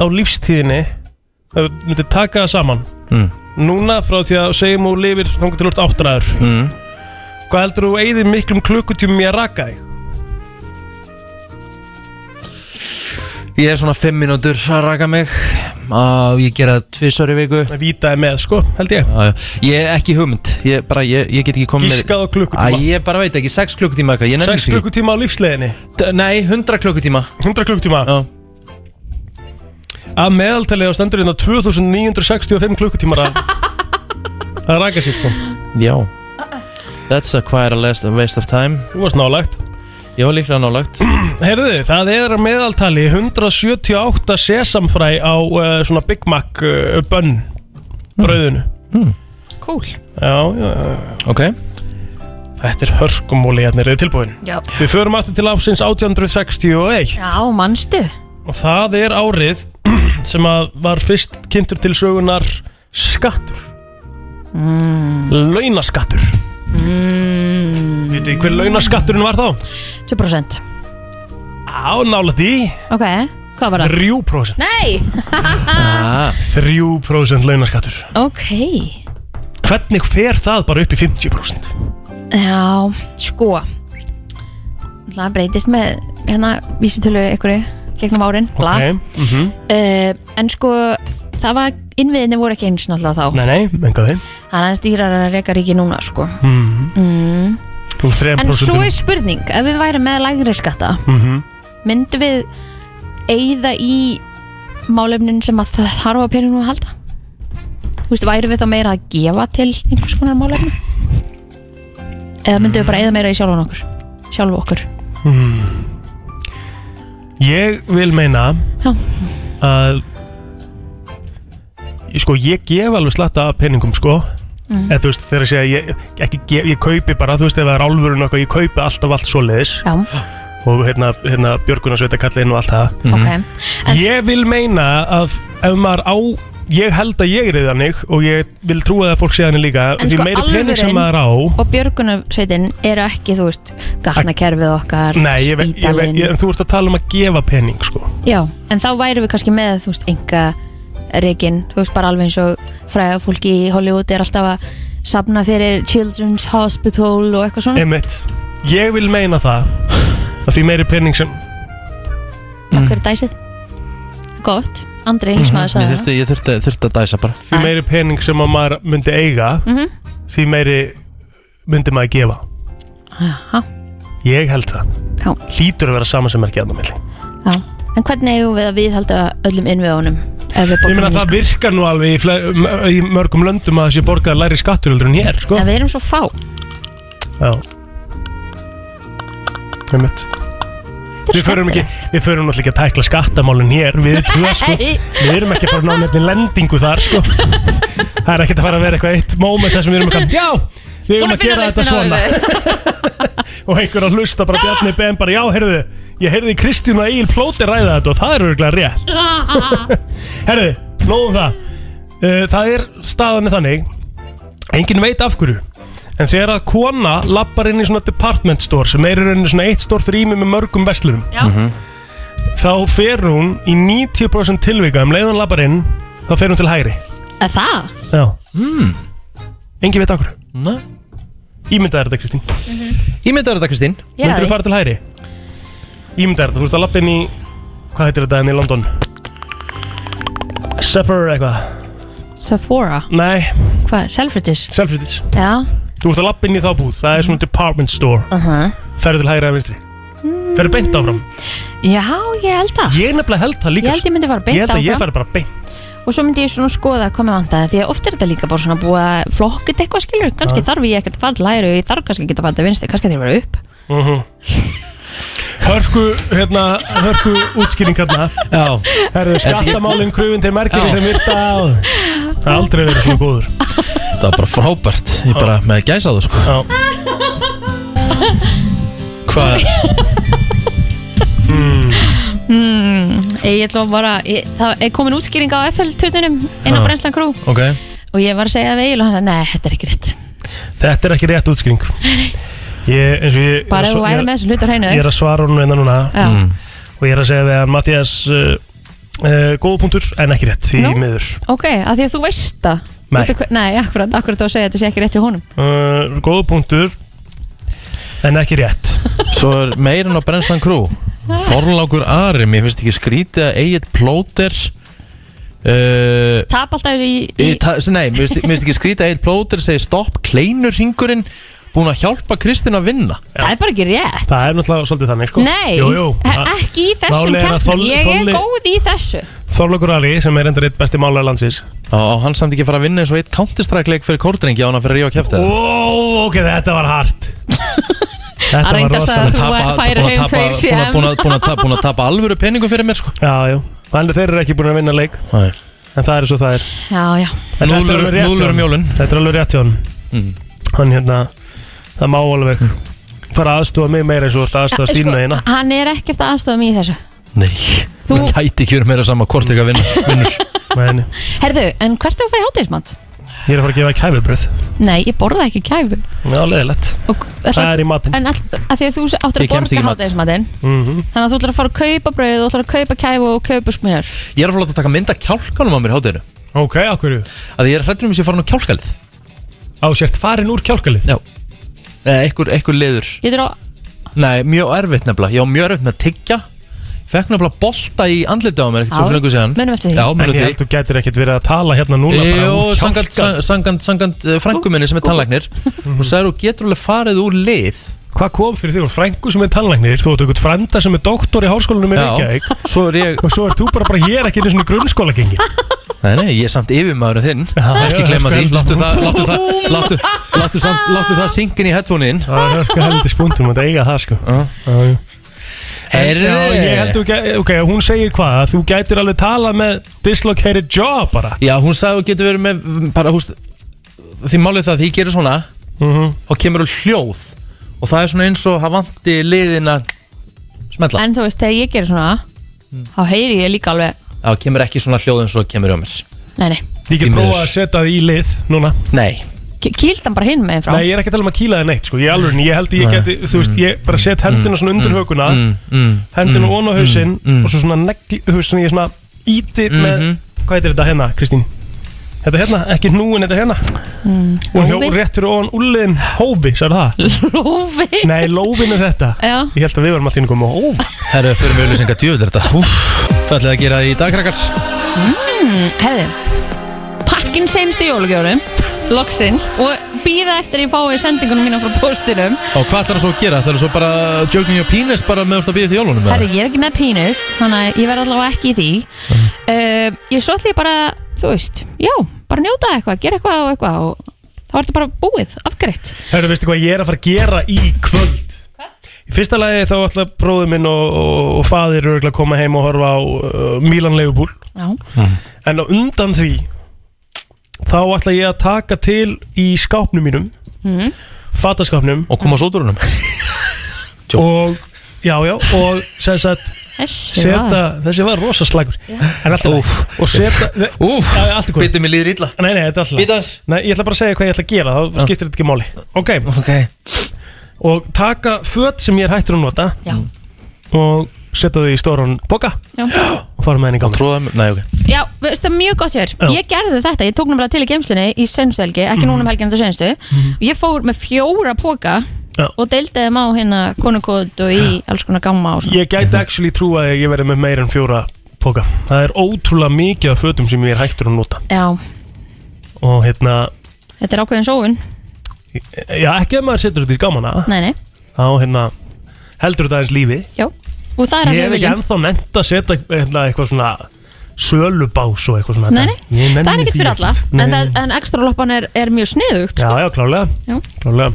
E: á lífstíðinni ef þú myndir taka það saman
D: Mm.
E: núna frá því að segjum og lifir þangar til úr áttræður mm. Hvað heldur þú eigðir miklum klukkutímum í að raka þig?
D: Ég er svona 5 mínútur að raka mig og ég gera tvisar í viku
E: Vítaði með sko, held ég
D: Ég er ekki hugmynd, ég, bara, ég, ég get ekki komið með-
E: Giskað á klukkutíma.
D: Æ, Ég bara veit ekki, 6 klukkutíma eitthvað, ég nefnir
E: 6 klukkutíma á lífsleginni
D: Nei, 100 klukkutíma
E: 100 klukkutíma
D: Já
E: Að meðaltalið á stendur hérna 2965 klukkutímar að að raka sér sko
D: Já That's a quite a last- a waste of time
E: Þú varst nálægt
D: Ég var líklega nálægt
E: Herðu, það er að meðaltali 178 sesamfræ á uh, svona Big Mac uh, bönn brauðinu
C: Cool
E: Já, já, já
D: Ok
E: Þetta er hörkumóli hérna, eru þið tilbúin?
C: Já.
E: Við förum aftur til ásins 1861
C: Já, mannstu
E: og það er árið sem að var fyrst kynntur til sögunar skattur
C: mm.
E: Launaskattur mm. Vitið þið hver launaskatturinn var þá?
C: 2%
E: Á, nálægt í
C: Ok, hvað var það?
E: 3%
C: Nei
E: 3% launaskattur
C: Ok
E: Hvernig fer það bara upp í 50%?
C: Já, sko Það breytist með hérna vísitölu ykkur gegnum árin bla.
E: Ok, mhm.
C: Eh, En sko það var innviðinni voru ekki eins náttúrulega þá
E: Nei, nei, enga þeim
C: Það er aðeins dýrar að reka ríki núna sko
E: mm.
C: mm.
E: Þú þrejum
C: En svo
E: prosentum
C: er spurning ef við værum með lægri skatta
E: Mhm.
C: myndum við eigða í málefnin sem að það þarf að peningum að halda Þú veist, værum við þá meira að gefa til einhvers konar málefni eða myndum við bara eigða meira í sjálfan okkur sjálf okkur
E: mm. Ég vil meina
C: Já.
E: að ég- sko, ég gef alveg slatta af peningum sko
C: Mm.
E: eða þú veist þegar ég segja ég, ekki, gef, ég kaupi bara, þú veist ef það er álfurinn og eitthvað, ég kaupi alltaf allt svoleiðis
C: Já.
E: og hérna, hérna björgunarsveita kallinn og allt það
C: okay.
E: ég vil meina að ef maður á ég held að ég er þannig og ég vil trúa það að fólk sé þannig líka
C: En
E: því
C: sko,
E: meiri pening sem
C: alvörin
E: maður á
C: og björgunarsveitin eru ekki, þú veist gatnakerfið okkar,
E: Nei, ég, ve- ég, ve-
C: spítalinn
E: ég, en þú ert að tala um að gefa pening sko.
C: Já, en þá værum við kannski með, þú veist, enga reygin, þú veist, bara alveg eins og fræða fólki í Hollywood er alltaf að safna fyrir Children's Hospital og eitthvað svona.
E: Einmitt. Ég vil meina það að því meiri pening sem
C: Takk fyrir dæsið. Gott. Andri
E: Mhm,
C: Ísmaður
D: Ég
C: sagði það.
D: þurfti, ég þurfti, þurfti að dæsa bara
E: því meiri pening sem að maður myndi eiga
C: Mhm.
E: því meiri myndi maður gefa
C: Jaha.
E: Ég held það
C: Já.
E: Hlýtur að vera sama sem er ekki aðnámiðli
C: Já. En hvernig eigum við að viðhalda öllum innviðunum ef við
E: Ég
C: borgum
E: meina það virkar nú alveg í, fle- m- í mörgum löndum að þessi borgar læri skattur heldur en hér sko
C: En við erum svo fá.
E: Já Einmitt Við förum, ekki, við förum náttúrulega ekki að tækla skattamálun hér Við tvö sko
C: Nei.
E: Við erum ekki að fara að ná nefni lendingu þar sko Það er ekkert að fara að vera eitthvað eitt moment þar sem við erum eitthvað Já, við erum
C: Búin
E: að gera þetta svona Og einhver að hlusta bara Bjarni Ben bara Já, heyrðu, ég heyrði Kristín og Egil Plóti ræða þetta og það er örgulega rétt Herðu, nóðum það Uh, Það er staðanir þannig Engin veit af hverju En þegar að kona lappar inn í svona department store sem er í rauninni svona eitt stort rými með mörgum verslunum
C: Já. Mhm.
E: þá fer hún í 90% tilvika um leiðan lappar inn þá fer hún til hægri
C: Er það?
E: Já mm. Engin veit af hverju
D: Nei.
E: Ímyndaður þetta Kristín
D: Ímyndaður þetta Kristín
C: Ég er að
E: Myndur
C: því.
E: þú fara til hægri? Ímyndaður þetta, þú ert að lappa inn í hvað heitir þetta enn í London? Sephora eitthvað
C: Sephora?
E: Nei
C: Hvað? Selfridges?
E: Selfridges
C: Já.
E: Þú ert að lappa inn í þá búð, það er svona department store
C: Uh -huh.
E: Ferðu til hægri eða vinstri
C: Hmm.
E: Ferðu beint áfram
C: Já, ég held það.
E: Ég nefnilega held það líka
C: Ég
E: sko.
C: held ég myndi fara beint
E: Ég held að ég
C: áfram.
E: fari bara beint
C: og svo myndi ég svona skoða hvað mér vantaði því að oft er þetta líka bara svona búið að flokkut eitthvað skilur, kannski
E: Já.
C: þarf ég ekkert að fara til læri og ég þarf kannski ekki að fara til vinstri, kannski þarf ég að vera upp
E: uh Hörku, hérna, hörku útskýring hérna
D: Já
E: Herðu skattamálinn krufin til merkir þeim virta og Það er aldrei verið svona góður
D: Það var bara frábært Ég bara með gæsaðu sko
E: Já
D: Hvað?
C: mm, Ég ætla bara, ég, það er komin útskýring á FL-tutunum inn á
E: Já.
C: Brenslan Crew
D: Ok
C: og ég var að segja það við Egil og hann sagði, nei, þetta er ekki rétt
E: Þetta er ekki rétt útskýring Ég, eins og ég
C: bara ef þú væri með þessu hlut á hreinu
E: Ég er að svara honum hérna núna
C: Já. Mm.
E: Og ég er að segja við hann Mattias uh, uh, Góða punktur en ekki rétt Því
C: Nú?
E: miður
C: ok, af því að þú veist það
E: Nei.
C: Út af hver- Nei, akkurat, akkurat á að segja að þetta sé ekki rétt hjá honum
E: uh, Góða punktur En ekki rétt
D: Svo er meirinn á Brennslan Crew Þorlákur Ari, mér finnst ekki skrítið að Egil Plóter uh,
C: Tap alltaf þessu í, í
D: í... Eh, ta, Nei, mér finnst mér finnst ekki skrítið að Egil Plóter segi stopp, kleinur hringurinn búin að hjálpa Kristinn að vinna
C: Það er bara ekki rétt
E: Það er náttúrulega svolítið þannig sko
C: Nei,
E: jú, jú.
C: það er ekki í þessum
E: Málið er að
C: keppnum
E: Þorl-
C: Ég er
E: Þorli-
C: góð í þessu
E: Þorlokur Ali sem er endur eitt besti málar landsins
D: Á, hann samt ekki fara að vinna eins og eitt counterstrike leik fyrir kórdrengi á hann að fyrir ríða og kæfti
E: Ó, ok, þetta var hart Þetta
C: Að reynda að sagði að þú væ- færir heim tveir CM.
D: Búin að tapa alvöru penningu fyrir mér sko
E: Já, já, þannig að þeir eru ekki búin að vinna leik
D: Nei.
E: En það er svo það er
C: Já, já
E: En þetta er
D: Núllur-
E: alveg rétt hjá
D: núllur um
E: honum.
D: jólin.
E: Þetta er alveg rétt hjá hann
D: Mm.
E: Hann hérna, það má alveg fara aðstúa mig meira eins og þú ert aðstúa stína
C: Sko,
E: hérna
C: Hann er ekkert að aðstofa mig í þessu
D: Nei,
C: Þú-
D: þú... gæti ekki verið meira sama hvort ekki að vinna, vinnur
E: Nei,
C: Herðu, en hvert er að fara í hátíðismat?
E: Ég er að fara að gefa kæfubröð
C: Nei, ég borða ekki kæfu
E: Já, leðilegt
C: og,
E: Það er í matinn.
C: En all, að því að þú áttur
D: Ég
C: að
D: kemst ekki í
C: borga
D: mat.
C: hátíðismatinn
E: Mhm.
C: Þannig að þú ætlar að fara að kaupa brauð Þú ætlar að kaupa kæfu og kaupa smjör
D: Ég er að fara að láta taka mynda kjálkanum á mér í hátinu
E: Ok, okkur
D: Að ég er hrættur um að ég sé farin á kjálkalið
E: Á sért farin úr kjálkalið?
D: Já Eða einhver, einhver liður
C: Getur á
D: Nei, mjög erfitt nefnilega Ég á mjög erfitt með að tyggja Fekk nefnilega bolta í andliti á mér ekkert
C: Já,
D: svo lengur séðan
C: munum eftir því.
D: Já,
E: En
D: munum
E: ég held
D: eftir
E: þú gætir ekkert verið að tala hérna núna
D: því
E: bara
D: Jó,
E: úr
D: sangant,
E: kjálka.
D: sangant, sangant frænguminni eh, sem er tannlæknir Hún sagði þú getur alveg farið úr lið
E: Hvað kom fyrir því? Þú er frængu sem er tannlæknir Þú ert eitthvað frænda sem er doktor í háskólanum í
D: Já.
E: Reykjavík
D: Svo er ég
E: Og svo ert þú bara bara hér ekki einu svona grunnskóla gengi
D: Nei, nei, ég er samt yfirmaðurinn þinn Ekki
E: já,
D: gleyma því
E: sko,
D: Láttu það,
E: búm.
D: láttu það, láttu, láttu, samt, láttu það syngin í headphone-in
E: Það er hörka heldur spúndum að eiga það sko Já, já.
D: Heyrðu.
E: Já, ég held þú gæ- Ok, hún segir hvað að Þú gætir alveg tala með dislocated jaw bara
D: Já, hún sagði þú getur verið með mm, bara, húst, Því málið er það að því ég gerir svona
E: Mhm.
D: Þá kemur þú hljóð Og það er svona eins og hann vanti liðin að Smetla
C: En þú veist, þegar ég gerir svona
D: Mm.
C: Þá heyri ég líka alveg
D: Já, kemur ekki svona hljóð eins og kemur hjá mér
C: Nei, nei
E: Ég
D: Því
E: get
D: miður.
E: prófað að setja það í lið núna
D: Nei
C: K- Kýlt hann bara hinn með einn frá
E: Nei, ég er ekki að tala um að kýla það neitt sko. ég, alveg, ég held að ég geti, þú veist, ég bara set hendina svona undir hökuna Hendina mm, á hausinn Og svo svona negli, þú veist, svona ég svona íti með Hvað heitir þetta hérna, Kristín? Þetta hérna, ekki hnúin, þetta hérna Og hjó,
C: lófi?
E: rétt fyrir ofan úliðin hófi, sagði það
C: Lófi
E: Nei, lófin er þetta
C: Já.
E: Ég held að við varum alltaf inn að koma hóf
D: Herru, fyrir mig auðlýsingar djöður þetta Úf, Það ætlaði að gera í dagkrakkar
C: Mm, Herðu Pakkin seinustu jólugjórum Loksins Og býða eftir ég fái sendingunum mína frá póstinum
D: Og hvað ætlar það svo að gera? Það er svo bara Joke me your penis bara með úrst að býða til jólunum eða?
C: Herðu, ég er ekki með penis Þannig að ég verð allavega ekki í því uh, Ég svo ætla ég bara, þú veist Já, bara njóta eitthvað, gera eitthvað og eitthvað og þá er þetta bara búið, afgreitt
E: Herru, veistu hvað ég er að fara að gera í kvöld? Í fyrsta lagi þá ætla bróður minn og, og, og faðir eru örugglega að koma heim og horfa á uh, Milan Leifubúl
C: Já,
E: En á undan því þá ætla ég að taka til í skápnum mínum
C: Mhm.
E: fataskápnum
D: Og koma á sóturunum Jó.
E: og já, já, og sem sagt
C: þessi var
E: seta, þessi var rosa slagur en alltaf,
D: Úff.
E: og seta ne-
D: Úf,
E: Já, já, allt í góðu.
D: bitur mér líður illa
E: nei, nei, þetta er alltaf
D: Býta þess
E: nei, ég ætla bara að segja hvað ég ætla að gera þá skiptir þetta ekki máli, ok
D: Ok
E: og taka föt sem ég er hættur að nota
C: Já,
E: og setja þau í stóran boka
C: já
E: og fara með henni í gangi
D: Tróða mér, nei ok
C: Já, veistu, mjög gott hér.
E: Já. Mhm.
C: Ég gerði þetta, ég tók náttúrulega til í geimslunni í senstu helgi, ekki núna um helginu til senstu. og Ég fór með fjóra póka
E: Já.
C: og deildi þeim á hérna konukóð og í alls konar gamma og svona.
E: Ég gæti actually trú að ég verði með meira en fjóra póka. Það er ótrúlega mikið af fötum sem ég er hættur að nota.
C: Já,
E: Og hérna,
C: þetta er ákveðin sóun.
E: já ekki að maður setur þetta í gamana,
C: Nei, nei,
E: þá hérna heldur þetta aðeins lífi.
C: já. Og það er það
E: Ég
C: sem við
E: hef ekki
C: viljum.
E: ennþá nefnt að setja hérna, eitthvað svona sölubás og eitthvað svona.
C: Nei, nei,
E: Ég nenni
C: það er ekkert
E: því
C: fyrir alla,
E: Nei.
C: en, það, en ekstra loppan er, er mjög sniðugt.
E: Já, já, klálega.
C: Já.
E: klálega.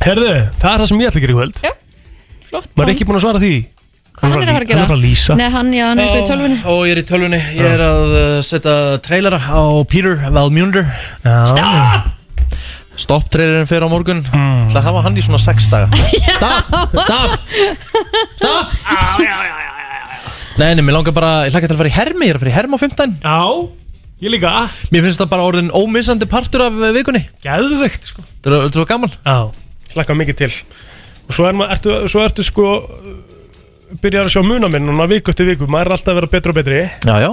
E: Herðu, það er það sem ég ætla að gera í kvöld.
C: Já, flott.
E: Maður er ekki búin að svara því.
C: Hvað hann er að fara að gera?
E: Hann er bara að lýsa.
C: Nei, hann, já, hann er eitthvað í tölvunni.
D: Og ég er í tölvunni, ég er að uh, setja trailera á Peter Valmunder
E: Stopp!
D: Stopp trailerinn fyrir á morgun
C: Hmm.
D: Það hafa hann í svona 6 daga Stopp, stopp, stopp Nei, nei, mér langar bara, ég hlakka til að fara í hermi, ég er að fara í hermi á 15
E: Já, ég líka. Ah,
D: Mér finnst það bara orðin ómissandi partur af uh, vikunni
E: Gæðvögt, sko.
D: Það er þetta er svo gaman
E: Já, hlakka mikið til Og svo, er maður, ertu, svo ertu sko uh, Byrjar að sjá muna minn Núna viku eftir viku, maður er alltaf að vera betri og betri
D: Já, já,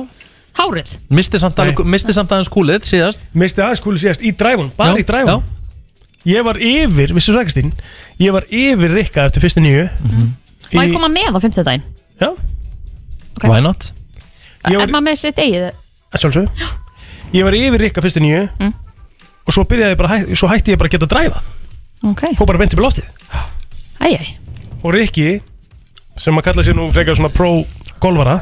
C: Hárið
D: Misti samt, alveg, misti samt aðeins kúlið síðast
E: Misti aðeins kúlið síðast í dræfun, bara í dræfun Ég var yfir, vissur þú það Kristín Ég var yfir Rikka eftir fyrstu nýju
C: Mhm. Má ég koma með á 50 daginn?
E: Já
D: okay. Why not?
E: Ég var-
C: Er maður með sitt eigið?
E: Að sjálfsögðu Ég var yfir Rikka fyrstu nýju
D: Mm.
E: Og svo byrjaði ég bara, hæ- svo hætti ég bara að geta að dræfa
C: Ok
E: Fó bara benti upp í loftið
C: Æj, æj
E: og Rikki sem að kalla sér nú frekar svona pro-golvara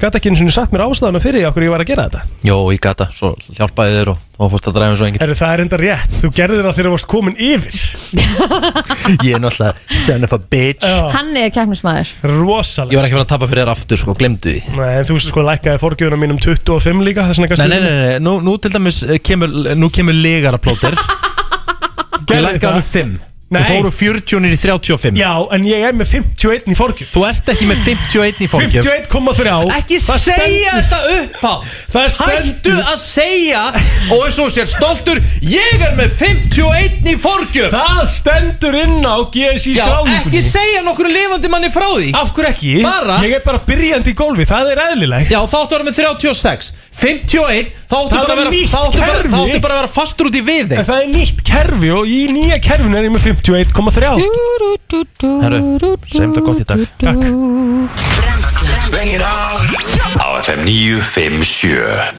E: gæti ekki eins og sagt mér ástæðuna fyrir okkur ég var að gera þetta
D: Jó, ég gata, svo hjálpaði þér og þá fórst að dræfa eins og enginn
E: Eru það er enda rétt, þú gerðir það þegar þú varst komin yfir
D: Ég er náttúrulega son of a bitch
C: Hann er kæknismæður
E: Rosalega
D: Ég var ekki verið að tapa fyrir þér aftur, sko, glemdu því
E: Nei, en þú veist sko lækkaði forgjöfuna mínum 25 líka þess vegna
D: Nei, nei, nei, nei, nú, nú til dæmis eh, kemur, nú kemur legara plóter Ég
E: Gerðu
D: lækka
E: það?
D: hann um 5
E: Nei.
D: Þú fóru 40 niður í 35
E: Já, en ég er með 51 í forgjöf
D: Þú ert ekki með 51 í forgjöf
E: 51,3
D: Ekki
E: Það
D: segja
E: stendur-
D: þetta upp á
E: Það
D: Hættu
E: stendur-
D: að segja Og eins og þú sér stoltur Ég er með 51 í forgjöf
E: Það stendur inn á GSI
D: Já,
E: skráningunni.
D: ekki segja nokkur lifandi manni frá því
E: Af hverju ekki?
D: Bara
E: Ég er bara byrjandi í golfi, það er eðlilegt
D: Já, þá áttu að vera með 36 51, þá áttu
E: Það
D: bara að
E: er
D: vera
E: nýtt
D: þá áttu bara,
E: kerfi.
D: þá áttu bara að vera fastur út í við
E: En
D: þig
E: það er nýtt kerfi og í nýja kerfinu er ég með 51,3
D: Herru, segjum þetta gott í dag
E: Takk
B: Á FM 957